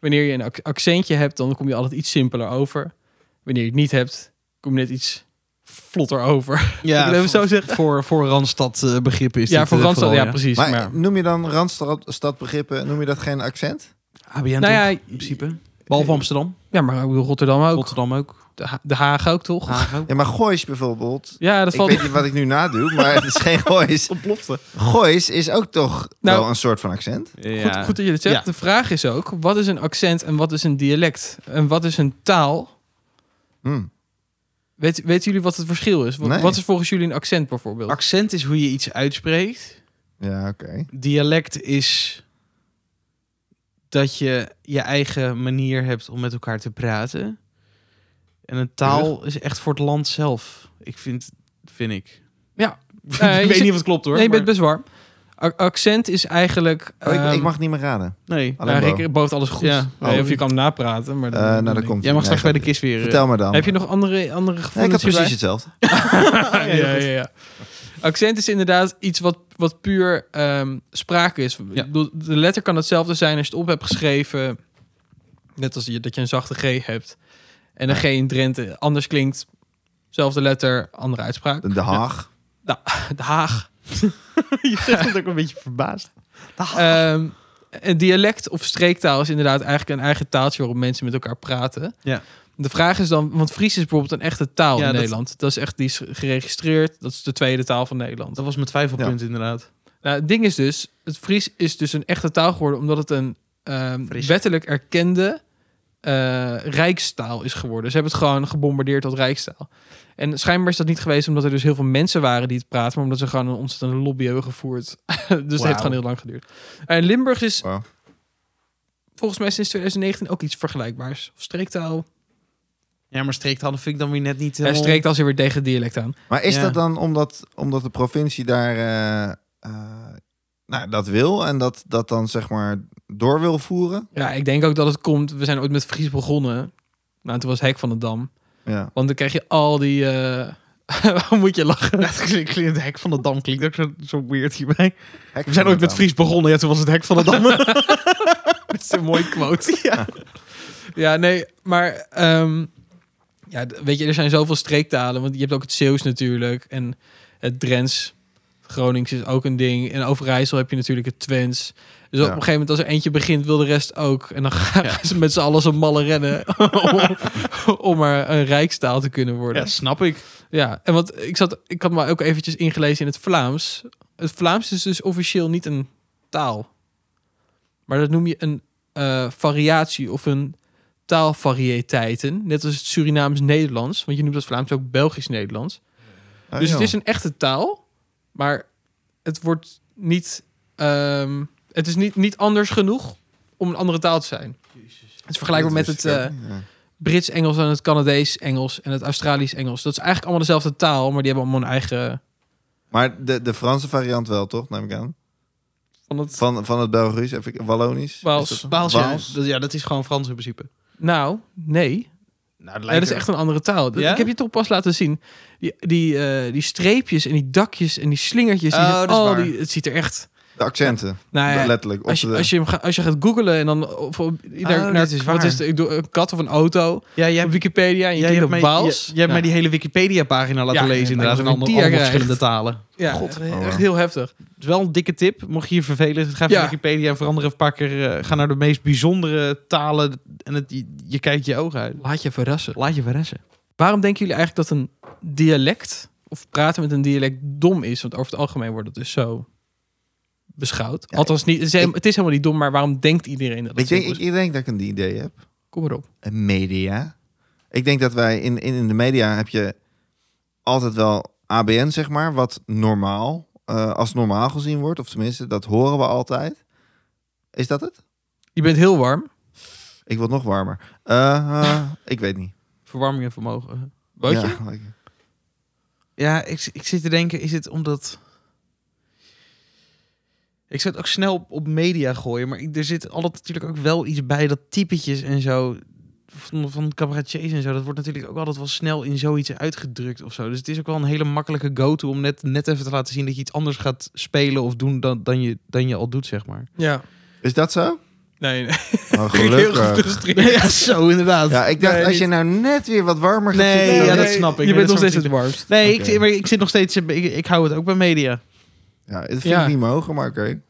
[SPEAKER 2] wanneer je een ac- accentje hebt, dan kom je altijd iets simpeler over. Wanneer je het niet hebt, kom je net iets vlotter over.
[SPEAKER 1] Ja,
[SPEAKER 2] Ik wil even zo zeggen.
[SPEAKER 1] Voor, voor Randstad eh, begrippen is
[SPEAKER 2] ja,
[SPEAKER 1] dit,
[SPEAKER 2] voor
[SPEAKER 1] eh,
[SPEAKER 2] Randstad, ja,
[SPEAKER 1] vooral,
[SPEAKER 2] precies.
[SPEAKER 3] Maar,
[SPEAKER 2] maar-
[SPEAKER 3] noem je dan Randstadbegrippen, noem je dat geen accent?
[SPEAKER 1] ABN
[SPEAKER 2] Nou
[SPEAKER 1] toch,
[SPEAKER 2] ja,
[SPEAKER 1] in principe. Behalve Amsterdam.
[SPEAKER 2] Ja, maar ik bedoel, Rotterdam Eh, ook.
[SPEAKER 1] Rotterdam ook.
[SPEAKER 2] De, Ha- de Haag ook, toch?
[SPEAKER 1] Haag ook.
[SPEAKER 3] Ja, maar Goois bijvoorbeeld.
[SPEAKER 2] Ja, dat
[SPEAKER 3] Ik
[SPEAKER 2] valt...
[SPEAKER 3] weet niet wat ik nu nadoe, maar het is geen Goois.
[SPEAKER 1] Ontplofte.
[SPEAKER 3] Goois is ook toch
[SPEAKER 2] Nou-
[SPEAKER 3] wel een soort van accent?
[SPEAKER 2] Goed, goed dat je dit zegt.
[SPEAKER 1] Ja.
[SPEAKER 2] De vraag is ook, wat is een accent en wat is een dialect? En wat is een taal?
[SPEAKER 3] Mm.
[SPEAKER 2] Weet, weten jullie wat het verschil is? Wat,
[SPEAKER 3] Nee.
[SPEAKER 2] wat is volgens jullie een accent bijvoorbeeld?
[SPEAKER 1] Accent is hoe je iets uitspreekt.
[SPEAKER 3] Ja, oké. Oh,
[SPEAKER 1] Dialect is dat je je eigen manier hebt om met elkaar te praten. En een taal is echt voor het land zelf. Ik vind, vind ik.
[SPEAKER 2] Ja.
[SPEAKER 1] ik
[SPEAKER 2] Nee, je
[SPEAKER 1] weet
[SPEAKER 2] zit-
[SPEAKER 1] niet of het klopt hoor.
[SPEAKER 2] nee, je bent
[SPEAKER 1] maar-
[SPEAKER 2] best warm. A- accent is eigenlijk...
[SPEAKER 3] Oh, ik, ik
[SPEAKER 2] ehm,
[SPEAKER 3] mag niet meer raden.
[SPEAKER 1] Nee.
[SPEAKER 2] ja,
[SPEAKER 3] Alleen Bo.
[SPEAKER 2] Rick bood alles goed.
[SPEAKER 1] Ja.
[SPEAKER 2] Nee, of je kan hem napraten, maar...
[SPEAKER 3] Eh,
[SPEAKER 2] dat-
[SPEAKER 3] nou,
[SPEAKER 2] dat
[SPEAKER 3] dat
[SPEAKER 2] denk ik.
[SPEAKER 3] komt
[SPEAKER 1] Jij mag straks bij de kist weer. eh,
[SPEAKER 3] Vertel me dan.
[SPEAKER 2] Heb je nog andere, andere gevoelens
[SPEAKER 3] Nee, ik had precies
[SPEAKER 2] hierbij?
[SPEAKER 3] hetzelfde.
[SPEAKER 1] Oh,
[SPEAKER 2] ja, ja, ja, ja. Accent is inderdaad iets wat, wat puur ehm, sprake is. Ik bedoel, De letter kan hetzelfde zijn als je het op hebt geschreven. Net als je, dat je een zachte G hebt. En een G in Drenthe anders klinkt. Zelfde letter, andere uitspraak.
[SPEAKER 3] De Haag.
[SPEAKER 2] De Haag.
[SPEAKER 1] je zegt dat ook een beetje verbaasd.
[SPEAKER 2] Ehm, een dialect of streektaal is inderdaad eigenlijk een eigen taaltje waarop mensen met elkaar praten.
[SPEAKER 1] Ja.
[SPEAKER 2] De vraag is dan, want Fries is bijvoorbeeld een echte taal
[SPEAKER 1] Ja,
[SPEAKER 2] in
[SPEAKER 1] dat-
[SPEAKER 2] Nederland. Dat is echt, die is geregistreerd. Dat is de tweede taal van Nederland.
[SPEAKER 1] Dat was mijn twijfelpunt inderdaad.
[SPEAKER 2] Nou, het ding is dus, het Fries is dus een echte taal geworden omdat het een ehm,
[SPEAKER 1] Fries.
[SPEAKER 2] wettelijk erkende eh, rijkstaal is geworden. Ze hebben het gewoon gebombardeerd tot rijkstaal. En schijnbaar is dat niet geweest omdat er dus heel veel mensen waren die het praten, maar omdat ze gewoon een ontzettende lobby hebben gevoerd. dus dat heeft gewoon heel lang geduurd. En Limburg is
[SPEAKER 3] Wauw.
[SPEAKER 2] volgens mij sinds 2019 ook iets vergelijkbaars. Of streektaal.
[SPEAKER 1] Ja, maar streektalen vind ik dan weer net niet eh,
[SPEAKER 2] Ja,
[SPEAKER 1] helemaal-
[SPEAKER 2] streektaal is er weer tegen het dialect aan.
[SPEAKER 3] Maar is
[SPEAKER 1] Ja.
[SPEAKER 3] dat dan omdat, omdat de provincie daar eh, eh, nou, dat wil en dat, dat dan zeg maar door wil voeren?
[SPEAKER 2] Ja, ik denk ook dat het komt. We zijn ooit met Fries begonnen. Nou, toen was Hek van de Dam.
[SPEAKER 3] Ja.
[SPEAKER 2] Want dan krijg je al die. eh, Waarom moet je lachen?
[SPEAKER 1] Ja, het klinkt, klinkt- het hek van de dam klinkt ook zo, zo weird hierbij.
[SPEAKER 3] Hek
[SPEAKER 1] We zijn ooit met
[SPEAKER 3] dan.
[SPEAKER 1] Fries begonnen. Ja, toen was het hek van de dam.
[SPEAKER 2] Dat is een mooie quote. Ja, ja nee, maar. ehm, ja, d- weet je, er zijn zoveel streektalen. Want je hebt ook het Zeeuws natuurlijk. En het Drents. Gronings is ook een ding. En Overijssel heb je natuurlijk het Twents. Dus op
[SPEAKER 3] Ja.
[SPEAKER 2] een gegeven moment, als er eentje begint, wil de rest ook. En dan gaan ze met z'n allen zo'n malle rennen. om, om maar een rijkstaal te kunnen worden.
[SPEAKER 1] Ja, snap ik.
[SPEAKER 2] Ja, en want ik zat, ik had me ook eventjes ingelezen in het Vlaams. Het Vlaams is dus officieel niet een taal, maar dat noem je een eh, variatie of hun taalvarieteiten. Net als het Surinaams-Nederlands. Want je noemt dat Vlaams ook Belgisch-Nederlands.
[SPEAKER 3] Ah,
[SPEAKER 2] dus
[SPEAKER 3] joh.
[SPEAKER 2] het is een echte taal. Maar het wordt niet... ehm, het is niet, niet anders genoeg om een andere taal te zijn. Het is vergelijkbaar
[SPEAKER 3] Dat
[SPEAKER 2] met
[SPEAKER 3] wist
[SPEAKER 2] het...
[SPEAKER 3] ik
[SPEAKER 2] eh,
[SPEAKER 3] ook niet, ja.
[SPEAKER 2] Brits-Engels en het Canadees-Engels en het Australisch-Engels. Dat is eigenlijk allemaal dezelfde taal, maar die hebben allemaal een eigen...
[SPEAKER 3] Maar de, de Franse variant wel, toch? Neem ik aan.
[SPEAKER 2] Van het...
[SPEAKER 3] Van, van het Belgisch, even ik- Wallonisch.
[SPEAKER 2] Waals.
[SPEAKER 3] Is dat-
[SPEAKER 1] Waals, ja.
[SPEAKER 3] Waals?
[SPEAKER 1] Dat, ja, dat is gewoon Frans in principe.
[SPEAKER 2] Nou, nee.
[SPEAKER 1] Nou,
[SPEAKER 2] Ja, dat is echt een andere taal. Dat-
[SPEAKER 1] Ja?
[SPEAKER 2] Ik heb je toch pas laten zien. Die, die, eh, die streepjes en die dakjes en die slingertjes. Die
[SPEAKER 1] Oh,
[SPEAKER 2] zijn
[SPEAKER 1] dat is
[SPEAKER 2] al
[SPEAKER 1] waar.
[SPEAKER 2] die, het ziet er echt...
[SPEAKER 3] De accenten,
[SPEAKER 2] Nou ja,
[SPEAKER 3] letterlijk. op
[SPEAKER 2] als je,
[SPEAKER 3] de-
[SPEAKER 2] als, je hem gaat, als je gaat googlen en dan... Of, op- naar,
[SPEAKER 1] Oh, dit is
[SPEAKER 2] Wat
[SPEAKER 1] waar.
[SPEAKER 2] is het? ik doe een kat of een auto
[SPEAKER 1] Ja, jij
[SPEAKER 2] op Wikipedia en je
[SPEAKER 1] jij
[SPEAKER 2] klikt
[SPEAKER 1] hebt
[SPEAKER 2] op
[SPEAKER 1] mij-
[SPEAKER 2] Waals. Nou,
[SPEAKER 1] je- jij hebt mij
[SPEAKER 2] Ja.
[SPEAKER 1] die hele Wikipedia-pagina laten
[SPEAKER 2] Ja,
[SPEAKER 1] lezen,
[SPEAKER 2] ja,
[SPEAKER 1] inderdaad.
[SPEAKER 2] maar
[SPEAKER 1] In
[SPEAKER 2] dat
[SPEAKER 1] allemaal,
[SPEAKER 2] je
[SPEAKER 1] allemaal
[SPEAKER 2] krijgt.
[SPEAKER 1] verschillende talen.
[SPEAKER 2] Ja,
[SPEAKER 3] God,
[SPEAKER 2] echt,
[SPEAKER 3] oh,
[SPEAKER 2] echt heel heftig.
[SPEAKER 1] Het is wel een dikke tip. Mocht je je vervelen, dus ga even
[SPEAKER 2] Ja.
[SPEAKER 1] Wikipedia en verander een paar keer. eh, ga naar de meest bijzondere talen en het, je, je kijkt je ogen uit.
[SPEAKER 2] Laat je verrassen.
[SPEAKER 1] Laat je verrassen.
[SPEAKER 2] Waarom denken jullie eigenlijk dat een dialect of praten met een dialect dom is? Want over het algemeen wordt het dus zo beschouwd. Althans, niet, het, is,
[SPEAKER 3] ik-
[SPEAKER 2] het is helemaal niet dom, maar waarom denkt iedereen dat? het
[SPEAKER 3] ik, denk,
[SPEAKER 2] dom
[SPEAKER 3] ik,
[SPEAKER 2] is?
[SPEAKER 3] ik denk dat ik een idee heb.
[SPEAKER 2] Kom maar op.
[SPEAKER 3] Een media. Ik denk dat wij in, in, in de media heb je altijd wel ABN, zeg maar, wat normaal, eh, als normaal gezien wordt. Of tenminste, dat horen we altijd. Is dat het?
[SPEAKER 2] Je bent heel warm.
[SPEAKER 3] Ik word nog warmer. Eh, eh, ik weet niet.
[SPEAKER 1] Verwarming en vermogen.
[SPEAKER 2] Bootje?
[SPEAKER 3] Ja, ik-
[SPEAKER 1] Ja, ik, ik zit te denken, is het omdat... Ik zou het ook snel op, op media gooien, maar ik- er zit altijd natuurlijk ook wel iets bij dat typetjes en zo... Van, van cabaretiers en zo, dat wordt natuurlijk ook altijd wel snel in zoiets uitgedrukt of zo. Dus het is ook wel een hele makkelijke go-to om net, net even te laten zien dat je iets anders gaat spelen of doen dan, dan, je, dan je al doet, zeg maar.
[SPEAKER 2] Ja.
[SPEAKER 3] Is dat zo?
[SPEAKER 2] Nee, nee.
[SPEAKER 3] Oh,
[SPEAKER 2] Ik ben heel
[SPEAKER 3] gelukkig.
[SPEAKER 2] gefrustreerd.
[SPEAKER 1] ja, zo inderdaad.
[SPEAKER 3] Ja, ik dacht,
[SPEAKER 2] Nee,
[SPEAKER 3] als je
[SPEAKER 2] niet.
[SPEAKER 3] nou net weer wat warmer gaat
[SPEAKER 1] Nee,
[SPEAKER 3] zitten,
[SPEAKER 1] ja,
[SPEAKER 3] dan-
[SPEAKER 1] dat snap ik.
[SPEAKER 2] Je
[SPEAKER 1] Nee,
[SPEAKER 2] bent
[SPEAKER 1] dat snap
[SPEAKER 2] nog steeds
[SPEAKER 1] ik.
[SPEAKER 2] het warmst.
[SPEAKER 1] Nee,
[SPEAKER 3] Oké.
[SPEAKER 1] ik, maar ik zit nog steeds... Ik, ik hou het ook bij media.
[SPEAKER 3] Ja, dat vind
[SPEAKER 2] Ja.
[SPEAKER 3] ik niet mogen, maar oké.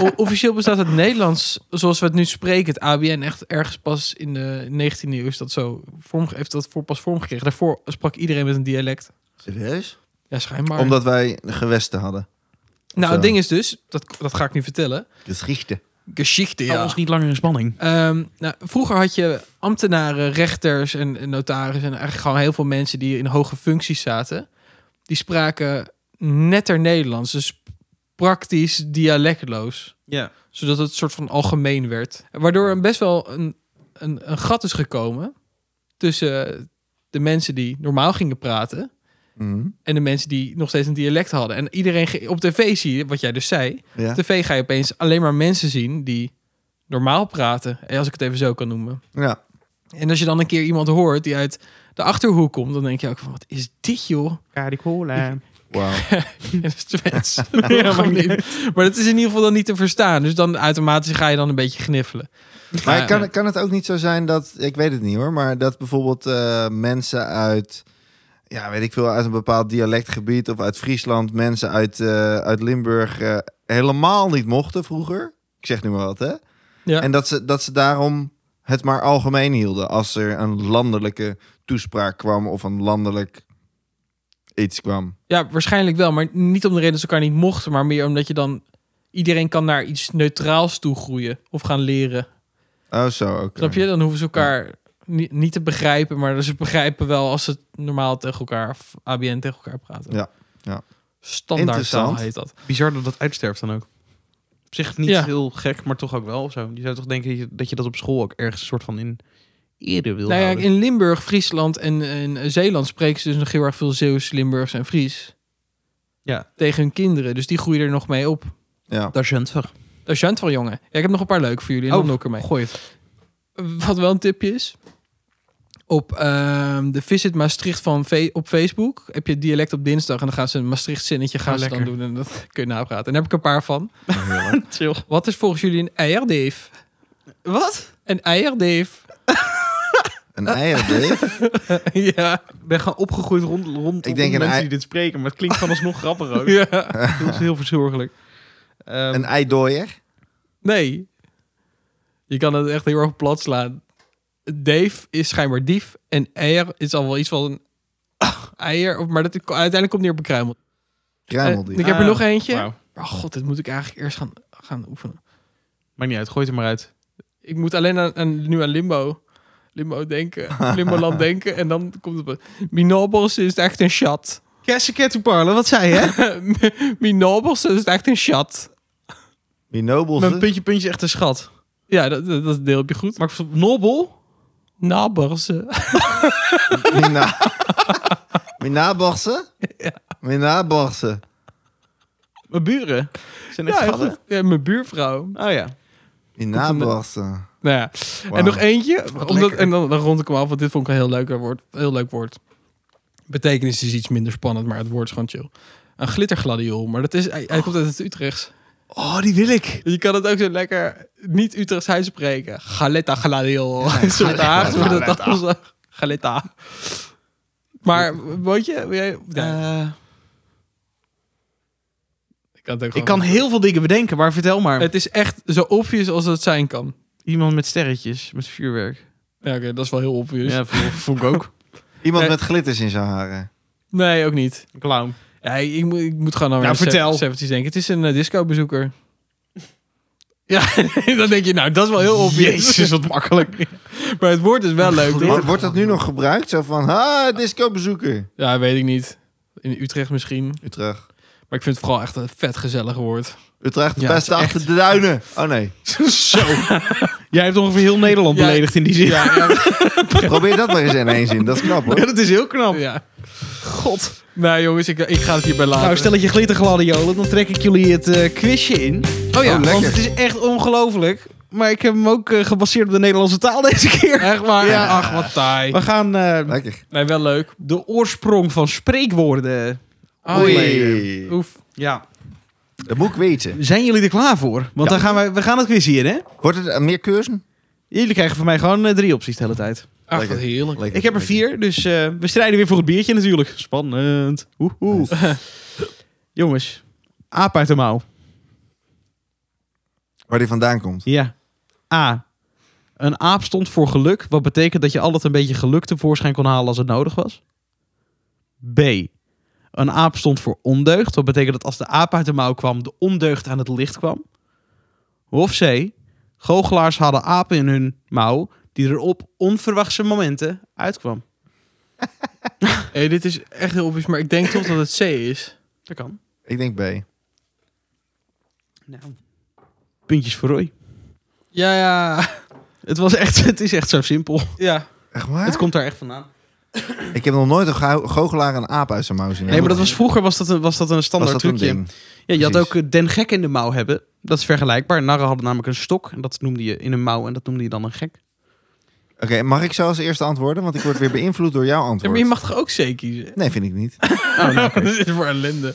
[SPEAKER 2] O- officieel bestaat het Nederlands, zoals we het nu spreken, het ABN, echt ergens pas in de 19e eeuw is dat zo vorm, heeft dat voor, pas vormgekregen. Daarvoor sprak iedereen met een dialect.
[SPEAKER 3] Serieus?
[SPEAKER 2] Ja, schijnbaar.
[SPEAKER 3] Omdat wij gewesten hadden.
[SPEAKER 2] nou,
[SPEAKER 3] zo.
[SPEAKER 2] het ding is dus, dat, dat ga ik nu vertellen.
[SPEAKER 3] Geschichte.
[SPEAKER 2] Geschichte,
[SPEAKER 1] Hou ons niet langer in spanning.
[SPEAKER 2] Ehm, nou, vroeger had je ambtenaren, rechters en, en notarissen en eigenlijk gewoon heel veel mensen die in hoge functies zaten. Die spraken netter Nederlands, dus praktisch dialectloos.
[SPEAKER 1] Ja.
[SPEAKER 2] Zodat het soort van algemeen werd. Waardoor er best wel een, een, een gat is gekomen tussen de mensen die normaal gingen praten
[SPEAKER 3] Mhm.
[SPEAKER 2] en de mensen die nog steeds een dialect hadden. En iedereen ge- op tv zie je, wat jij dus zei,
[SPEAKER 3] Ja.
[SPEAKER 2] op tv ga je opeens alleen maar mensen zien die normaal praten. Eh, Als ik het even zo kan noemen.
[SPEAKER 3] ja.
[SPEAKER 2] En als je dan een keer iemand hoort die uit de achterhoek komt, dan denk je ook van wat is dit joh?
[SPEAKER 3] Wauw.
[SPEAKER 2] En dat is Twents. ja, maar, niet. maar dat is in ieder geval dan niet te verstaan. Dus dan automatisch ga je dan een beetje gniffelen.
[SPEAKER 3] Maar kan, kan het ook niet zo zijn dat, ik weet het niet hoor, maar dat bijvoorbeeld eh, mensen uit, ja weet ik veel, uit een bepaald dialectgebied of uit Friesland, mensen uit, eh, uit Limburg eh, helemaal niet mochten vroeger? Ik zeg nu maar wat, hè?
[SPEAKER 2] Ja.
[SPEAKER 3] En dat ze, dat ze daarom het maar algemeen hielden als er een landelijke toespraak kwam of een landelijk iets kwam.
[SPEAKER 2] Ja, waarschijnlijk wel. Maar niet om de reden dat ze elkaar niet mochten, maar meer omdat je dan iedereen kan naar iets neutraals toe groeien of gaan leren.
[SPEAKER 3] Oh zo, oké.
[SPEAKER 2] Snap je? Dan hoeven ze elkaar ni- niet te begrijpen, maar ze begrijpen wel als ze normaal tegen elkaar of ABN tegen elkaar praten.
[SPEAKER 3] Ja, ja.
[SPEAKER 2] Standaard taal
[SPEAKER 3] Interessant.
[SPEAKER 2] heet dat.
[SPEAKER 1] Bizar dat dat uitsterft dan ook. Op zich niet
[SPEAKER 2] Ja.
[SPEAKER 1] heel gek, maar toch ook wel of zo. Je zou toch denken dat je dat, je dat op school ook ergens een soort van in ere wil
[SPEAKER 2] Nou ja,
[SPEAKER 1] houden.
[SPEAKER 2] in Limburg, Friesland en, en eh, Zeeland spreken ze dus nog heel erg veel Zeeuws, Limburgs en Fries.
[SPEAKER 1] Ja.
[SPEAKER 2] Tegen hun kinderen. Dus die groeien er nog mee op.
[SPEAKER 3] Ja.
[SPEAKER 1] Dat is jentig.
[SPEAKER 2] Dat is Jant van jongen. Ja, ik heb nog een paar leuke voor jullie. En
[SPEAKER 1] Oh,
[SPEAKER 2] dan doe ik ermee.
[SPEAKER 1] Gooi het.
[SPEAKER 2] Wat wel een tipje is. Op ehm, de Visit Maastricht van Fe- op Facebook heb je dialect op dinsdag. En dan gaan ze een Maastricht zinnetje gaan
[SPEAKER 1] Oh,
[SPEAKER 2] ze dan
[SPEAKER 1] lekker.
[SPEAKER 2] doen. En dat kun je napraten. En daar heb ik een paar van.
[SPEAKER 1] Chill.
[SPEAKER 2] Wat is volgens jullie een eierdeef?
[SPEAKER 1] Wat?
[SPEAKER 2] Een eierdeef.
[SPEAKER 3] Een eierdeel?
[SPEAKER 2] ja.
[SPEAKER 1] Ik ben gewoon opgegroeid rond, rond
[SPEAKER 3] Ik denk een
[SPEAKER 1] mensen
[SPEAKER 3] ei-
[SPEAKER 1] die dit spreken, maar het klinkt gewoon alsnog grappig ook.
[SPEAKER 2] ja.
[SPEAKER 1] Dat is heel verzorgelijk. Ehm,
[SPEAKER 3] een eidooier?
[SPEAKER 2] Nee. Je kan het echt heel erg plat slaan. Dave is schijnbaar dief. En eier is al wel iets van een eier. of- Maar dat, uiteindelijk komt het neer op een kruimel.
[SPEAKER 3] Kruimel
[SPEAKER 2] Eh, ik heb er
[SPEAKER 1] Ah,
[SPEAKER 2] nog eentje.
[SPEAKER 1] wauw.
[SPEAKER 2] Oh god, dit moet ik eigenlijk eerst gaan, gaan oefenen.
[SPEAKER 1] Maakt niet uit, gooi het er maar uit.
[SPEAKER 2] Ik moet alleen aan, aan- nu aan Limbo. Limbo denken. Limboland denken. En dan komt het... op- Minobos is echt een chat.
[SPEAKER 1] Kersenket to parlen, wat zei je?
[SPEAKER 2] Minobos is echt een chat.
[SPEAKER 3] Die nobels.
[SPEAKER 1] Mijn puntje puntje is echt een schat.
[SPEAKER 2] Ja, dat, dat, dat deel heb je goed.
[SPEAKER 1] Maar Nobel?
[SPEAKER 2] Naborsen.
[SPEAKER 3] Mina. Minaborsen? Minaborsen.
[SPEAKER 1] Mijn buren? Zijn echt
[SPEAKER 2] Ja, heel
[SPEAKER 1] schatten?
[SPEAKER 2] goed. ja, mijn buurvrouw.
[SPEAKER 1] Oh ja.
[SPEAKER 3] Minaborsen.
[SPEAKER 2] Nou ja.
[SPEAKER 3] Wauw.
[SPEAKER 2] En nog eentje. Omdat,
[SPEAKER 1] lekker.
[SPEAKER 2] en dan, dan rond ik hem af, want dit vond ik een heel leuk woord. Heel leuk woord. Betekenis is iets minder spannend, maar het woord is gewoon chill. Een glittergladiool, maar dat is, hij, hij komt uit het Utrechts.
[SPEAKER 1] Oh, die wil ik.
[SPEAKER 2] Je kan het ook zo lekker niet Utrechts uitspreken. Galetta gladiool. Een soort Haags wordt het dan zo. Galetta. Maar, weet je, wil jij- Ja,
[SPEAKER 1] Eh,
[SPEAKER 2] ik kan het ook
[SPEAKER 1] ik kan
[SPEAKER 2] gewoon-
[SPEAKER 1] heel veel dingen bedenken, maar vertel maar.
[SPEAKER 2] Het is echt zo obvious als het zijn kan.
[SPEAKER 1] Iemand met sterretjes, met vuurwerk.
[SPEAKER 2] Ja, oké, dat is wel heel obvious.
[SPEAKER 1] Ja, voel, voel ik ook.
[SPEAKER 3] Iemand
[SPEAKER 2] Nee.
[SPEAKER 3] met glitters in zijn haren.
[SPEAKER 2] Nee, ook niet.
[SPEAKER 1] Een clown.
[SPEAKER 2] Ja, ik, ik moet, ik moet gewoon aan
[SPEAKER 1] Nou,
[SPEAKER 2] de se-
[SPEAKER 1] vertel.
[SPEAKER 2] 70's denken. Het is een disco discobezoeker. Ja, dan denk je, nou, dat is wel heel obvious.
[SPEAKER 1] Jezus, wat makkelijk.
[SPEAKER 2] Maar het woord is wel leuk,
[SPEAKER 3] Wordt-
[SPEAKER 2] toch?
[SPEAKER 3] Wordt dat nu nog gebruikt? Zo van, ha, discobezoeker.
[SPEAKER 2] Ja, weet ik niet. In Utrecht misschien.
[SPEAKER 3] Utrecht.
[SPEAKER 2] Maar ik vind het vooral echt een vet gezellig woord.
[SPEAKER 3] Utrecht, de
[SPEAKER 2] Ja,
[SPEAKER 3] beste
[SPEAKER 2] het is
[SPEAKER 3] achter de duinen. Oh nee.
[SPEAKER 1] Zo. Jij hebt ongeveer heel Nederland
[SPEAKER 2] Ja.
[SPEAKER 1] beledigd in die zin.
[SPEAKER 2] Ja, ja,
[SPEAKER 3] Probeer dat maar eens in één zin. Dat is knap hoor.
[SPEAKER 1] Ja, dat is heel knap.
[SPEAKER 2] ja.
[SPEAKER 1] God.
[SPEAKER 2] Nou jongens, ik, ik ga het hierbij laten.
[SPEAKER 1] Nou, stel dat je glittergladiolen, dan trek ik jullie het eh, quizje in.
[SPEAKER 2] oh ja,
[SPEAKER 3] Oh,
[SPEAKER 1] Want
[SPEAKER 3] lekker.
[SPEAKER 1] het is echt ongelooflijk. Maar ik heb hem ook eh, gebaseerd op de Nederlandse taal deze keer.
[SPEAKER 2] echt waar.
[SPEAKER 1] Ja.
[SPEAKER 2] Ach, wat taai.
[SPEAKER 1] We gaan eh,
[SPEAKER 3] Lekker.
[SPEAKER 2] Nee, wel leuk.
[SPEAKER 1] de oorsprong van spreekwoorden. Oh,
[SPEAKER 2] Oh,
[SPEAKER 3] Oei.
[SPEAKER 2] Oef.
[SPEAKER 1] Ja.
[SPEAKER 3] Dat moet ik weten.
[SPEAKER 1] Zijn jullie er klaar voor? Want dan gaan we, we gaan het quizje in, hè?
[SPEAKER 3] Wordt het eh, meer keurzen?
[SPEAKER 1] Jullie krijgen van mij gewoon eh, drie opties de hele tijd.
[SPEAKER 2] Ach,
[SPEAKER 3] Lekker.
[SPEAKER 2] wat heerlijk.
[SPEAKER 3] Lekker,
[SPEAKER 1] Ik heb er
[SPEAKER 3] lekker.
[SPEAKER 1] vier, dus eh, we strijden weer voor het biertje natuurlijk. Spannend. Oehoe. Jongens, aap uit de mouw.
[SPEAKER 3] Waar die vandaan komt.
[SPEAKER 1] Ja. A. Een aap stond voor geluk, wat betekent dat je altijd een beetje geluk tevoorschijn kon halen als het nodig was. B. Een aap stond voor ondeugd, wat betekent dat als de aap uit de mouw kwam, de ondeugd aan het licht kwam. Of C. Goochelaars hadden apen in hun mouw, die er op onverwachte momenten uitkwam.
[SPEAKER 2] Hey, dit is echt heel obvious, maar ik denk toch dat het C is.
[SPEAKER 1] Dat kan.
[SPEAKER 3] Ik denk B.
[SPEAKER 1] Puntjes voor Roy.
[SPEAKER 2] Ja, ja.
[SPEAKER 1] Het, was echt, het is echt zo simpel.
[SPEAKER 2] Ja.
[SPEAKER 3] Echt waar?
[SPEAKER 1] Het komt daar echt vandaan.
[SPEAKER 3] Ik heb nog nooit een go- goochelaar een aap uit zijn mouw zien.
[SPEAKER 1] Nee, maar dat was, vroeger was dat een, was dat een standaard
[SPEAKER 3] Was dat een
[SPEAKER 1] trucje.
[SPEAKER 3] ding?
[SPEAKER 1] ja, je had
[SPEAKER 3] Precies.
[SPEAKER 1] ook eh, den gek in de mouw hebben. Dat is vergelijkbaar. Narren hadden namelijk een stok. En dat noemde je in een mouw. En dat noemde je dan een gek.
[SPEAKER 3] Oké, mag ik zo als eerste antwoorden? Want ik word weer beïnvloed door jouw
[SPEAKER 2] Ja, Maar je
[SPEAKER 3] antwoord.
[SPEAKER 2] mag toch ook C kiezen?
[SPEAKER 3] Nee, vind ik niet.
[SPEAKER 2] Dit is voor ellende.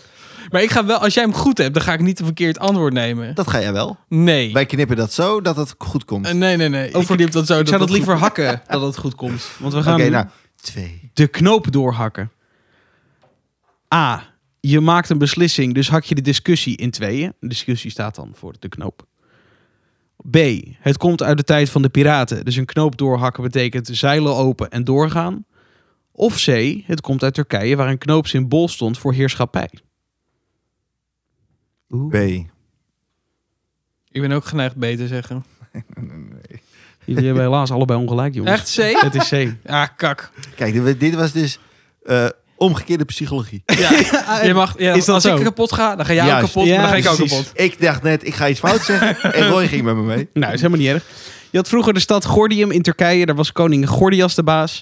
[SPEAKER 2] Maar ik ga wel, als jij hem goed hebt, dan ga ik niet een verkeerd antwoord nemen.
[SPEAKER 3] Dat ga jij wel.
[SPEAKER 2] Nee.
[SPEAKER 3] Wij knippen dat zo dat het goed komt.
[SPEAKER 2] Eh, nee, nee, nee.
[SPEAKER 1] Over-
[SPEAKER 2] ik verdiep dat zo.
[SPEAKER 1] Oh, Ik zou dat liever
[SPEAKER 2] goed-
[SPEAKER 1] hakken, dat het goed komt. Want we
[SPEAKER 3] Oké,
[SPEAKER 1] gaan
[SPEAKER 3] nou. Twee.
[SPEAKER 1] de knoop doorhakken. A. Je maakt een beslissing, dus hak je de discussie in tweeën. De discussie staat dan voor de knoop. B. Het komt uit de tijd van de piraten. Dus een knoop doorhakken betekent zeilen open en doorgaan. Of C. Het komt uit Turkije, waar een knoop symbool stond voor heerschappij.
[SPEAKER 3] B.
[SPEAKER 2] Ik ben ook geneigd B te zeggen.
[SPEAKER 1] Jullie hebben helaas allebei ongelijk, jongens.
[SPEAKER 2] Echt C?
[SPEAKER 1] Het is C.
[SPEAKER 2] Ah, kak.
[SPEAKER 3] Kijk, dit- dit was dus eh, omgekeerde psychologie.
[SPEAKER 2] Je mag, ja,
[SPEAKER 1] Is dat
[SPEAKER 2] als
[SPEAKER 1] zo?
[SPEAKER 2] ik kapot ga, dan ga jij ook
[SPEAKER 3] Juist.
[SPEAKER 2] kapot,
[SPEAKER 1] Ja,
[SPEAKER 2] maar dan ga ik ook
[SPEAKER 1] precies.
[SPEAKER 2] kapot.
[SPEAKER 3] Ik dacht net, ik ga iets fout zeggen. en Roy ging met me mee.
[SPEAKER 1] Nou, is helemaal niet erg. Je had vroeger de stad Gordium in Turkije. Daar was koning Gordias de baas.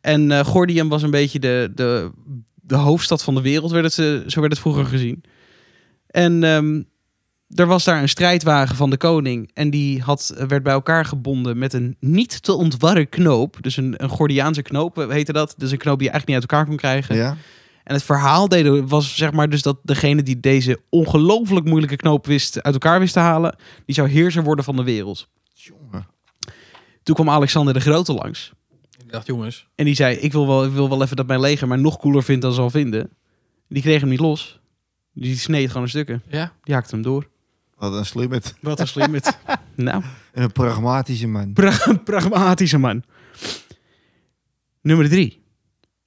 [SPEAKER 1] En eh, Gordium was een beetje de, de, de hoofdstad van de wereld, werd het, eh, zo werd het vroeger gezien. En ehm, er was daar een strijdwagen van de koning. En die had, eh, werd bij elkaar gebonden met een niet te ontwarren knoop. Dus een, een Gordiaanse knoop eh, heette dat. Dus een knoop die je eigenlijk niet uit elkaar kon krijgen.
[SPEAKER 3] Ja.
[SPEAKER 1] En het verhaal deden was zeg maar dus dat degene die deze ongelooflijk moeilijke knoop wist, uit elkaar wist te halen, die zou heerser worden van de wereld.
[SPEAKER 3] Jongen.
[SPEAKER 1] Toen kwam Alexander de Grote langs.
[SPEAKER 2] Ik dacht, jongens.
[SPEAKER 1] En die zei, ik wil wel, ik wil wel even dat mijn leger mij nog cooler vindt dan ze al vinden. Die kreeg hem niet los. Die sneed gewoon een stukken.
[SPEAKER 2] Ja.
[SPEAKER 1] Die hakte hem door.
[SPEAKER 3] Wat een slimmerd.
[SPEAKER 1] Wat een slim het. nou,
[SPEAKER 3] En een pragmatische man.
[SPEAKER 1] pra- pragmatische man. Nummer drie.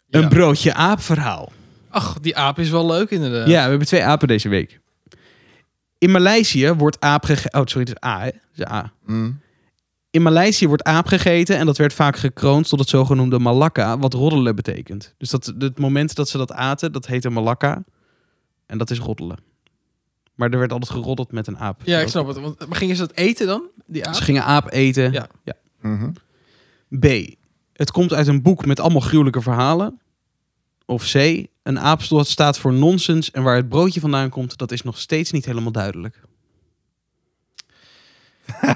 [SPEAKER 1] Een
[SPEAKER 2] Ja.
[SPEAKER 1] broodje aap verhaal.
[SPEAKER 2] Ach, die aap is wel leuk inderdaad.
[SPEAKER 1] Ja, we hebben twee apen deze week. In Maleisië wordt aap gegeten... Oh, sorry, het is A, hè? Dus aap.
[SPEAKER 3] Mm.
[SPEAKER 1] In Maleisië wordt aap gegeten en dat werd vaak gekroond tot het zogenoemde malakka, wat roddelen betekent. Dus dat, het moment dat ze dat aten, dat heette malakka en dat is roddelen. Maar er werd altijd geroddeld met een aap.
[SPEAKER 2] Ja, ik snap het. Want, maar gingen ze dat eten dan? Die aap?
[SPEAKER 1] Ze gingen aap eten.
[SPEAKER 2] Ja.
[SPEAKER 3] Mhm.
[SPEAKER 1] B. Het komt uit een boek met allemaal gruwelijke verhalen. Of C. Een aap staat voor nonsens en waar het broodje vandaan komt, dat is nog steeds niet helemaal duidelijk.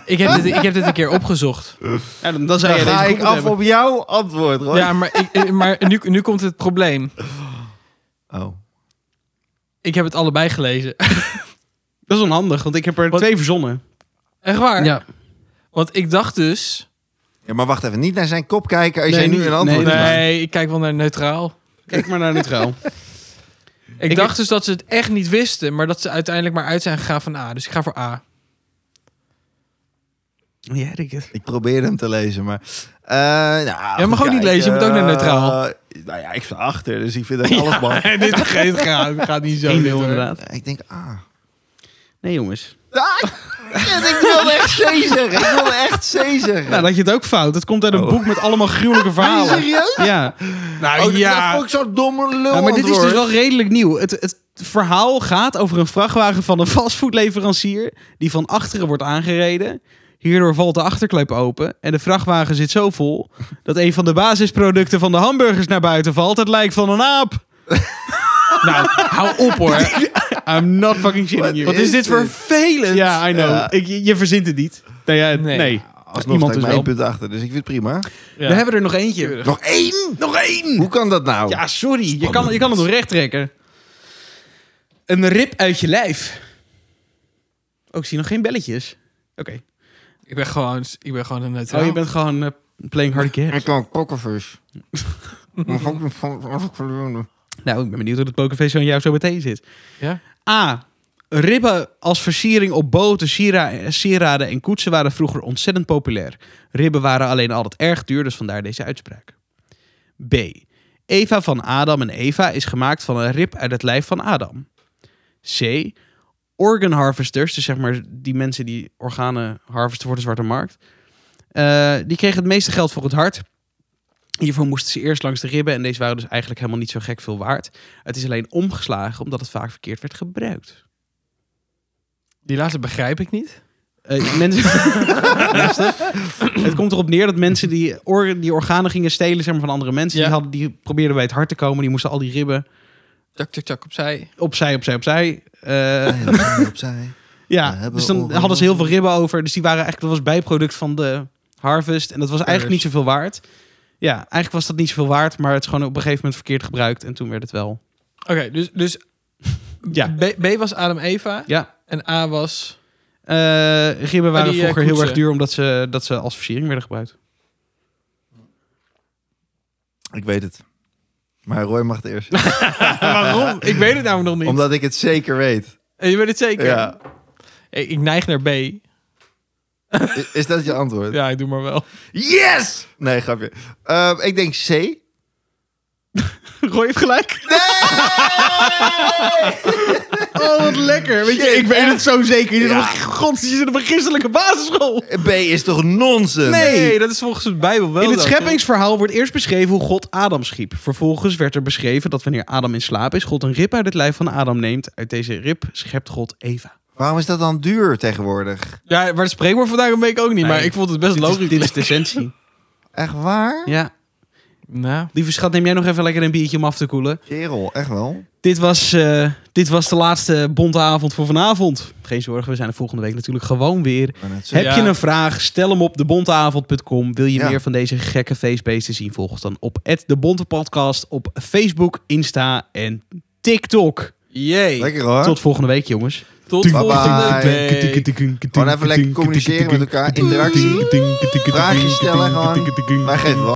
[SPEAKER 2] Ik heb, dit, ik heb dit een keer opgezocht.
[SPEAKER 1] Ja, dan, dan zou
[SPEAKER 3] Dan
[SPEAKER 1] jij
[SPEAKER 3] ga
[SPEAKER 1] deze goed
[SPEAKER 3] ik af
[SPEAKER 1] hebben.
[SPEAKER 3] op jouw antwoord, hoor.
[SPEAKER 2] Ja, maar, ik, eh, maar nu, nu komt het probleem.
[SPEAKER 3] Oh.
[SPEAKER 2] Ik heb het allebei gelezen.
[SPEAKER 1] Dat is onhandig, want ik heb er
[SPEAKER 2] Wat-
[SPEAKER 1] twee verzonnen.
[SPEAKER 2] Echt waar? Want ik dacht dus...
[SPEAKER 3] Ja, maar wacht even. Niet naar zijn kop kijken als
[SPEAKER 1] Nee,
[SPEAKER 3] jij nu
[SPEAKER 1] niet.
[SPEAKER 3] een antwoord
[SPEAKER 1] Nee,
[SPEAKER 3] hebt.
[SPEAKER 2] Nee, ik kijk wel naar neutraal.
[SPEAKER 1] Kijk maar naar neutraal.
[SPEAKER 2] Ik,
[SPEAKER 1] Ik-
[SPEAKER 2] dacht dus dat ze het echt niet wisten, maar dat ze uiteindelijk maar uit zijn gegaan van A. Dus ik ga voor A.
[SPEAKER 1] ja, ik het.
[SPEAKER 3] Ik probeerde hem te lezen, maar... eh nou, ja, eh,
[SPEAKER 2] mag ook niet lezen, je moet ook naar neutraal.
[SPEAKER 3] nou ja, ik sta achter, dus ik vind dat alles mag.
[SPEAKER 2] dit gaat, gaat niet zo.
[SPEAKER 1] 1-0
[SPEAKER 2] dit, hoor.
[SPEAKER 1] inderdaad.
[SPEAKER 3] Ik denk, ah...
[SPEAKER 1] Nee, jongens.
[SPEAKER 3] Ah, ik wilde echt C zeggen. Ik wilde echt C zeggen.
[SPEAKER 1] Nou, dat je het ook fout. Het komt uit een
[SPEAKER 3] Oh.
[SPEAKER 1] boek met allemaal gruwelijke verhalen.
[SPEAKER 3] serieus? Oh,
[SPEAKER 1] Ja. Nou
[SPEAKER 3] Dat vond ik zo'n domme lul
[SPEAKER 1] Ja, maar dit is dus
[SPEAKER 3] antwoord.
[SPEAKER 1] wel redelijk nieuw. Het, het verhaal gaat over een vrachtwagen van een fastfoodleverancier die van achteren wordt aangereden. Hierdoor valt de achterklep open en de vrachtwagen zit zo vol dat een van de basisproducten van de hamburgers naar buiten valt. Het lijkt van een aap.
[SPEAKER 2] Nou, hou op hoor.
[SPEAKER 1] I'm not fucking shitting you.
[SPEAKER 2] Wat is dit vervelend?
[SPEAKER 1] Ja, I know.
[SPEAKER 3] Ja.
[SPEAKER 1] Ik, je je verzint het niet. Nou ja, nee.
[SPEAKER 2] Nee.
[SPEAKER 3] Alsnog sta
[SPEAKER 1] Iemand
[SPEAKER 3] ik
[SPEAKER 1] is
[SPEAKER 3] maar
[SPEAKER 1] wel.
[SPEAKER 3] één punt achter, dus ik vind het prima.
[SPEAKER 1] We hebben er nog eentje.
[SPEAKER 3] Nog één? Nog één! Hoe kan dat nou?
[SPEAKER 1] Ja, sorry. Je kan, je kan het nog recht trekken. Een rib uit je lijf. Ook zie nog geen belletjes. Oké.
[SPEAKER 2] Ik ben gewoon, ik ben gewoon een neutraal.
[SPEAKER 1] Oh, je bent gewoon eh, playing hard games.
[SPEAKER 3] Ik kan pokkervis. Oké.
[SPEAKER 1] Nou, ik ben benieuwd hoe dat pokerface zo aan jou zo meteen zit.
[SPEAKER 2] Ja?
[SPEAKER 1] A. Ribben als versiering op boten, siera- sieraden en koetsen waren vroeger ontzettend populair. Ribben waren alleen altijd erg duur, dus vandaar deze uitspraak. B. Eva van Adam en Eva is gemaakt van een rib uit het lijf van Adam. C. Organ harvesters, dus zeg maar die mensen die organen harvesten voor de zwarte markt, eh, die kregen het meeste geld voor het hart. Hiervoor moesten ze eerst langs de ribben en deze waren dus eigenlijk helemaal niet zo gek veel waard. Het is alleen omgeslagen omdat het vaak verkeerd werd gebruikt.
[SPEAKER 2] Die laatste begrijp ik niet.
[SPEAKER 1] Eh, mensen... Luister. het komt erop neer dat mensen die, or- die organen gingen stelen zeg maar, van andere mensen,
[SPEAKER 2] Ja.
[SPEAKER 1] die, hadden, die probeerden bij het hart te komen. Die moesten al die ribben
[SPEAKER 2] Tjak, tjak, tjak opzij.
[SPEAKER 1] opzij, opzij, opzij. Eh,
[SPEAKER 3] Opzij. We
[SPEAKER 1] ja,
[SPEAKER 3] hebben
[SPEAKER 1] dus dan
[SPEAKER 3] organen.
[SPEAKER 1] hadden ze heel veel ribben over. Dus die waren eigenlijk, dat was bijproduct van de harvest. En dat was eigenlijk niet zoveel waard. Ja, eigenlijk was dat niet zoveel waard, maar het is gewoon op een gegeven moment verkeerd gebruikt. En toen werd het wel.
[SPEAKER 2] Oké, dus, dus
[SPEAKER 1] Ja.
[SPEAKER 2] B, B was Adam Eva
[SPEAKER 1] Ja,
[SPEAKER 2] en A was...
[SPEAKER 1] eh ribben waren
[SPEAKER 2] die, eh,
[SPEAKER 1] vroeger heel
[SPEAKER 2] koetsen.
[SPEAKER 1] erg duur omdat ze, dat ze als versiering werden gebruikt.
[SPEAKER 3] Ik weet het. Maar Roy mag het eerst.
[SPEAKER 2] Waarom? Oh, Ik weet het namelijk nog niet.
[SPEAKER 3] Omdat ik het zeker weet.
[SPEAKER 2] Eh, Je weet het zeker?
[SPEAKER 3] Ja.
[SPEAKER 2] Ik, ik neig naar B.
[SPEAKER 3] I- Is dat je antwoord?
[SPEAKER 2] Ja, ik doe maar wel.
[SPEAKER 3] Yes! Nee, grapje. Ehm, ik denk C. Nee!
[SPEAKER 1] Roy heeft gelijk. Oh, wat lekker. Weet je,
[SPEAKER 3] Shit,
[SPEAKER 1] ik weet het zo zeker. Je zit
[SPEAKER 3] Ja.
[SPEAKER 1] op een- God, je zit op een christelijke basisschool.
[SPEAKER 3] B is toch nonsens?
[SPEAKER 1] Nee.
[SPEAKER 2] dat is volgens de Bijbel wel
[SPEAKER 1] In het
[SPEAKER 2] zo.
[SPEAKER 1] scheppingsverhaal wordt eerst beschreven hoe God Adam schiep. Vervolgens werd er beschreven dat wanneer Adam in slaap is, God een rib uit het lijf van Adam neemt. Uit deze rib schept God Eva.
[SPEAKER 3] Waarom is dat dan duur tegenwoordig?
[SPEAKER 2] Ja, maar het spreekwoord vandaag een week ook niet. Maar
[SPEAKER 1] Nee.
[SPEAKER 2] ik vond het best
[SPEAKER 1] Dit is,
[SPEAKER 2] logisch.
[SPEAKER 1] dit is de essentie.
[SPEAKER 3] Echt waar?
[SPEAKER 1] Ja.
[SPEAKER 2] Nou,
[SPEAKER 1] Lieve schat, neem jij nog even lekker een biertje om af te koelen.
[SPEAKER 3] Kerel, echt wel.
[SPEAKER 1] Dit was, eh, dit was de laatste bonte avond voor vanavond. Geen zorgen, we zijn er volgende week natuurlijk gewoon weer.
[SPEAKER 3] Ik wou net zeggen.
[SPEAKER 1] Heb
[SPEAKER 2] Ja.
[SPEAKER 1] je een vraag? Stel hem op debonteavond.com. Wil je
[SPEAKER 3] Ja.
[SPEAKER 1] meer van deze gekke feestbeesten zien? Volg ons dan op @debontepodcast op Facebook, Insta en TikTok.
[SPEAKER 2] jee.
[SPEAKER 3] Lekker hoor.
[SPEAKER 1] Tot volgende week, jongens.
[SPEAKER 2] Tot
[SPEAKER 3] Bye
[SPEAKER 2] volgende
[SPEAKER 3] bye.
[SPEAKER 2] week.
[SPEAKER 3] Gewoon even lekker communiceren met elkaar. Interactie. Vraagjes stellen gewoon. Wij geven wel.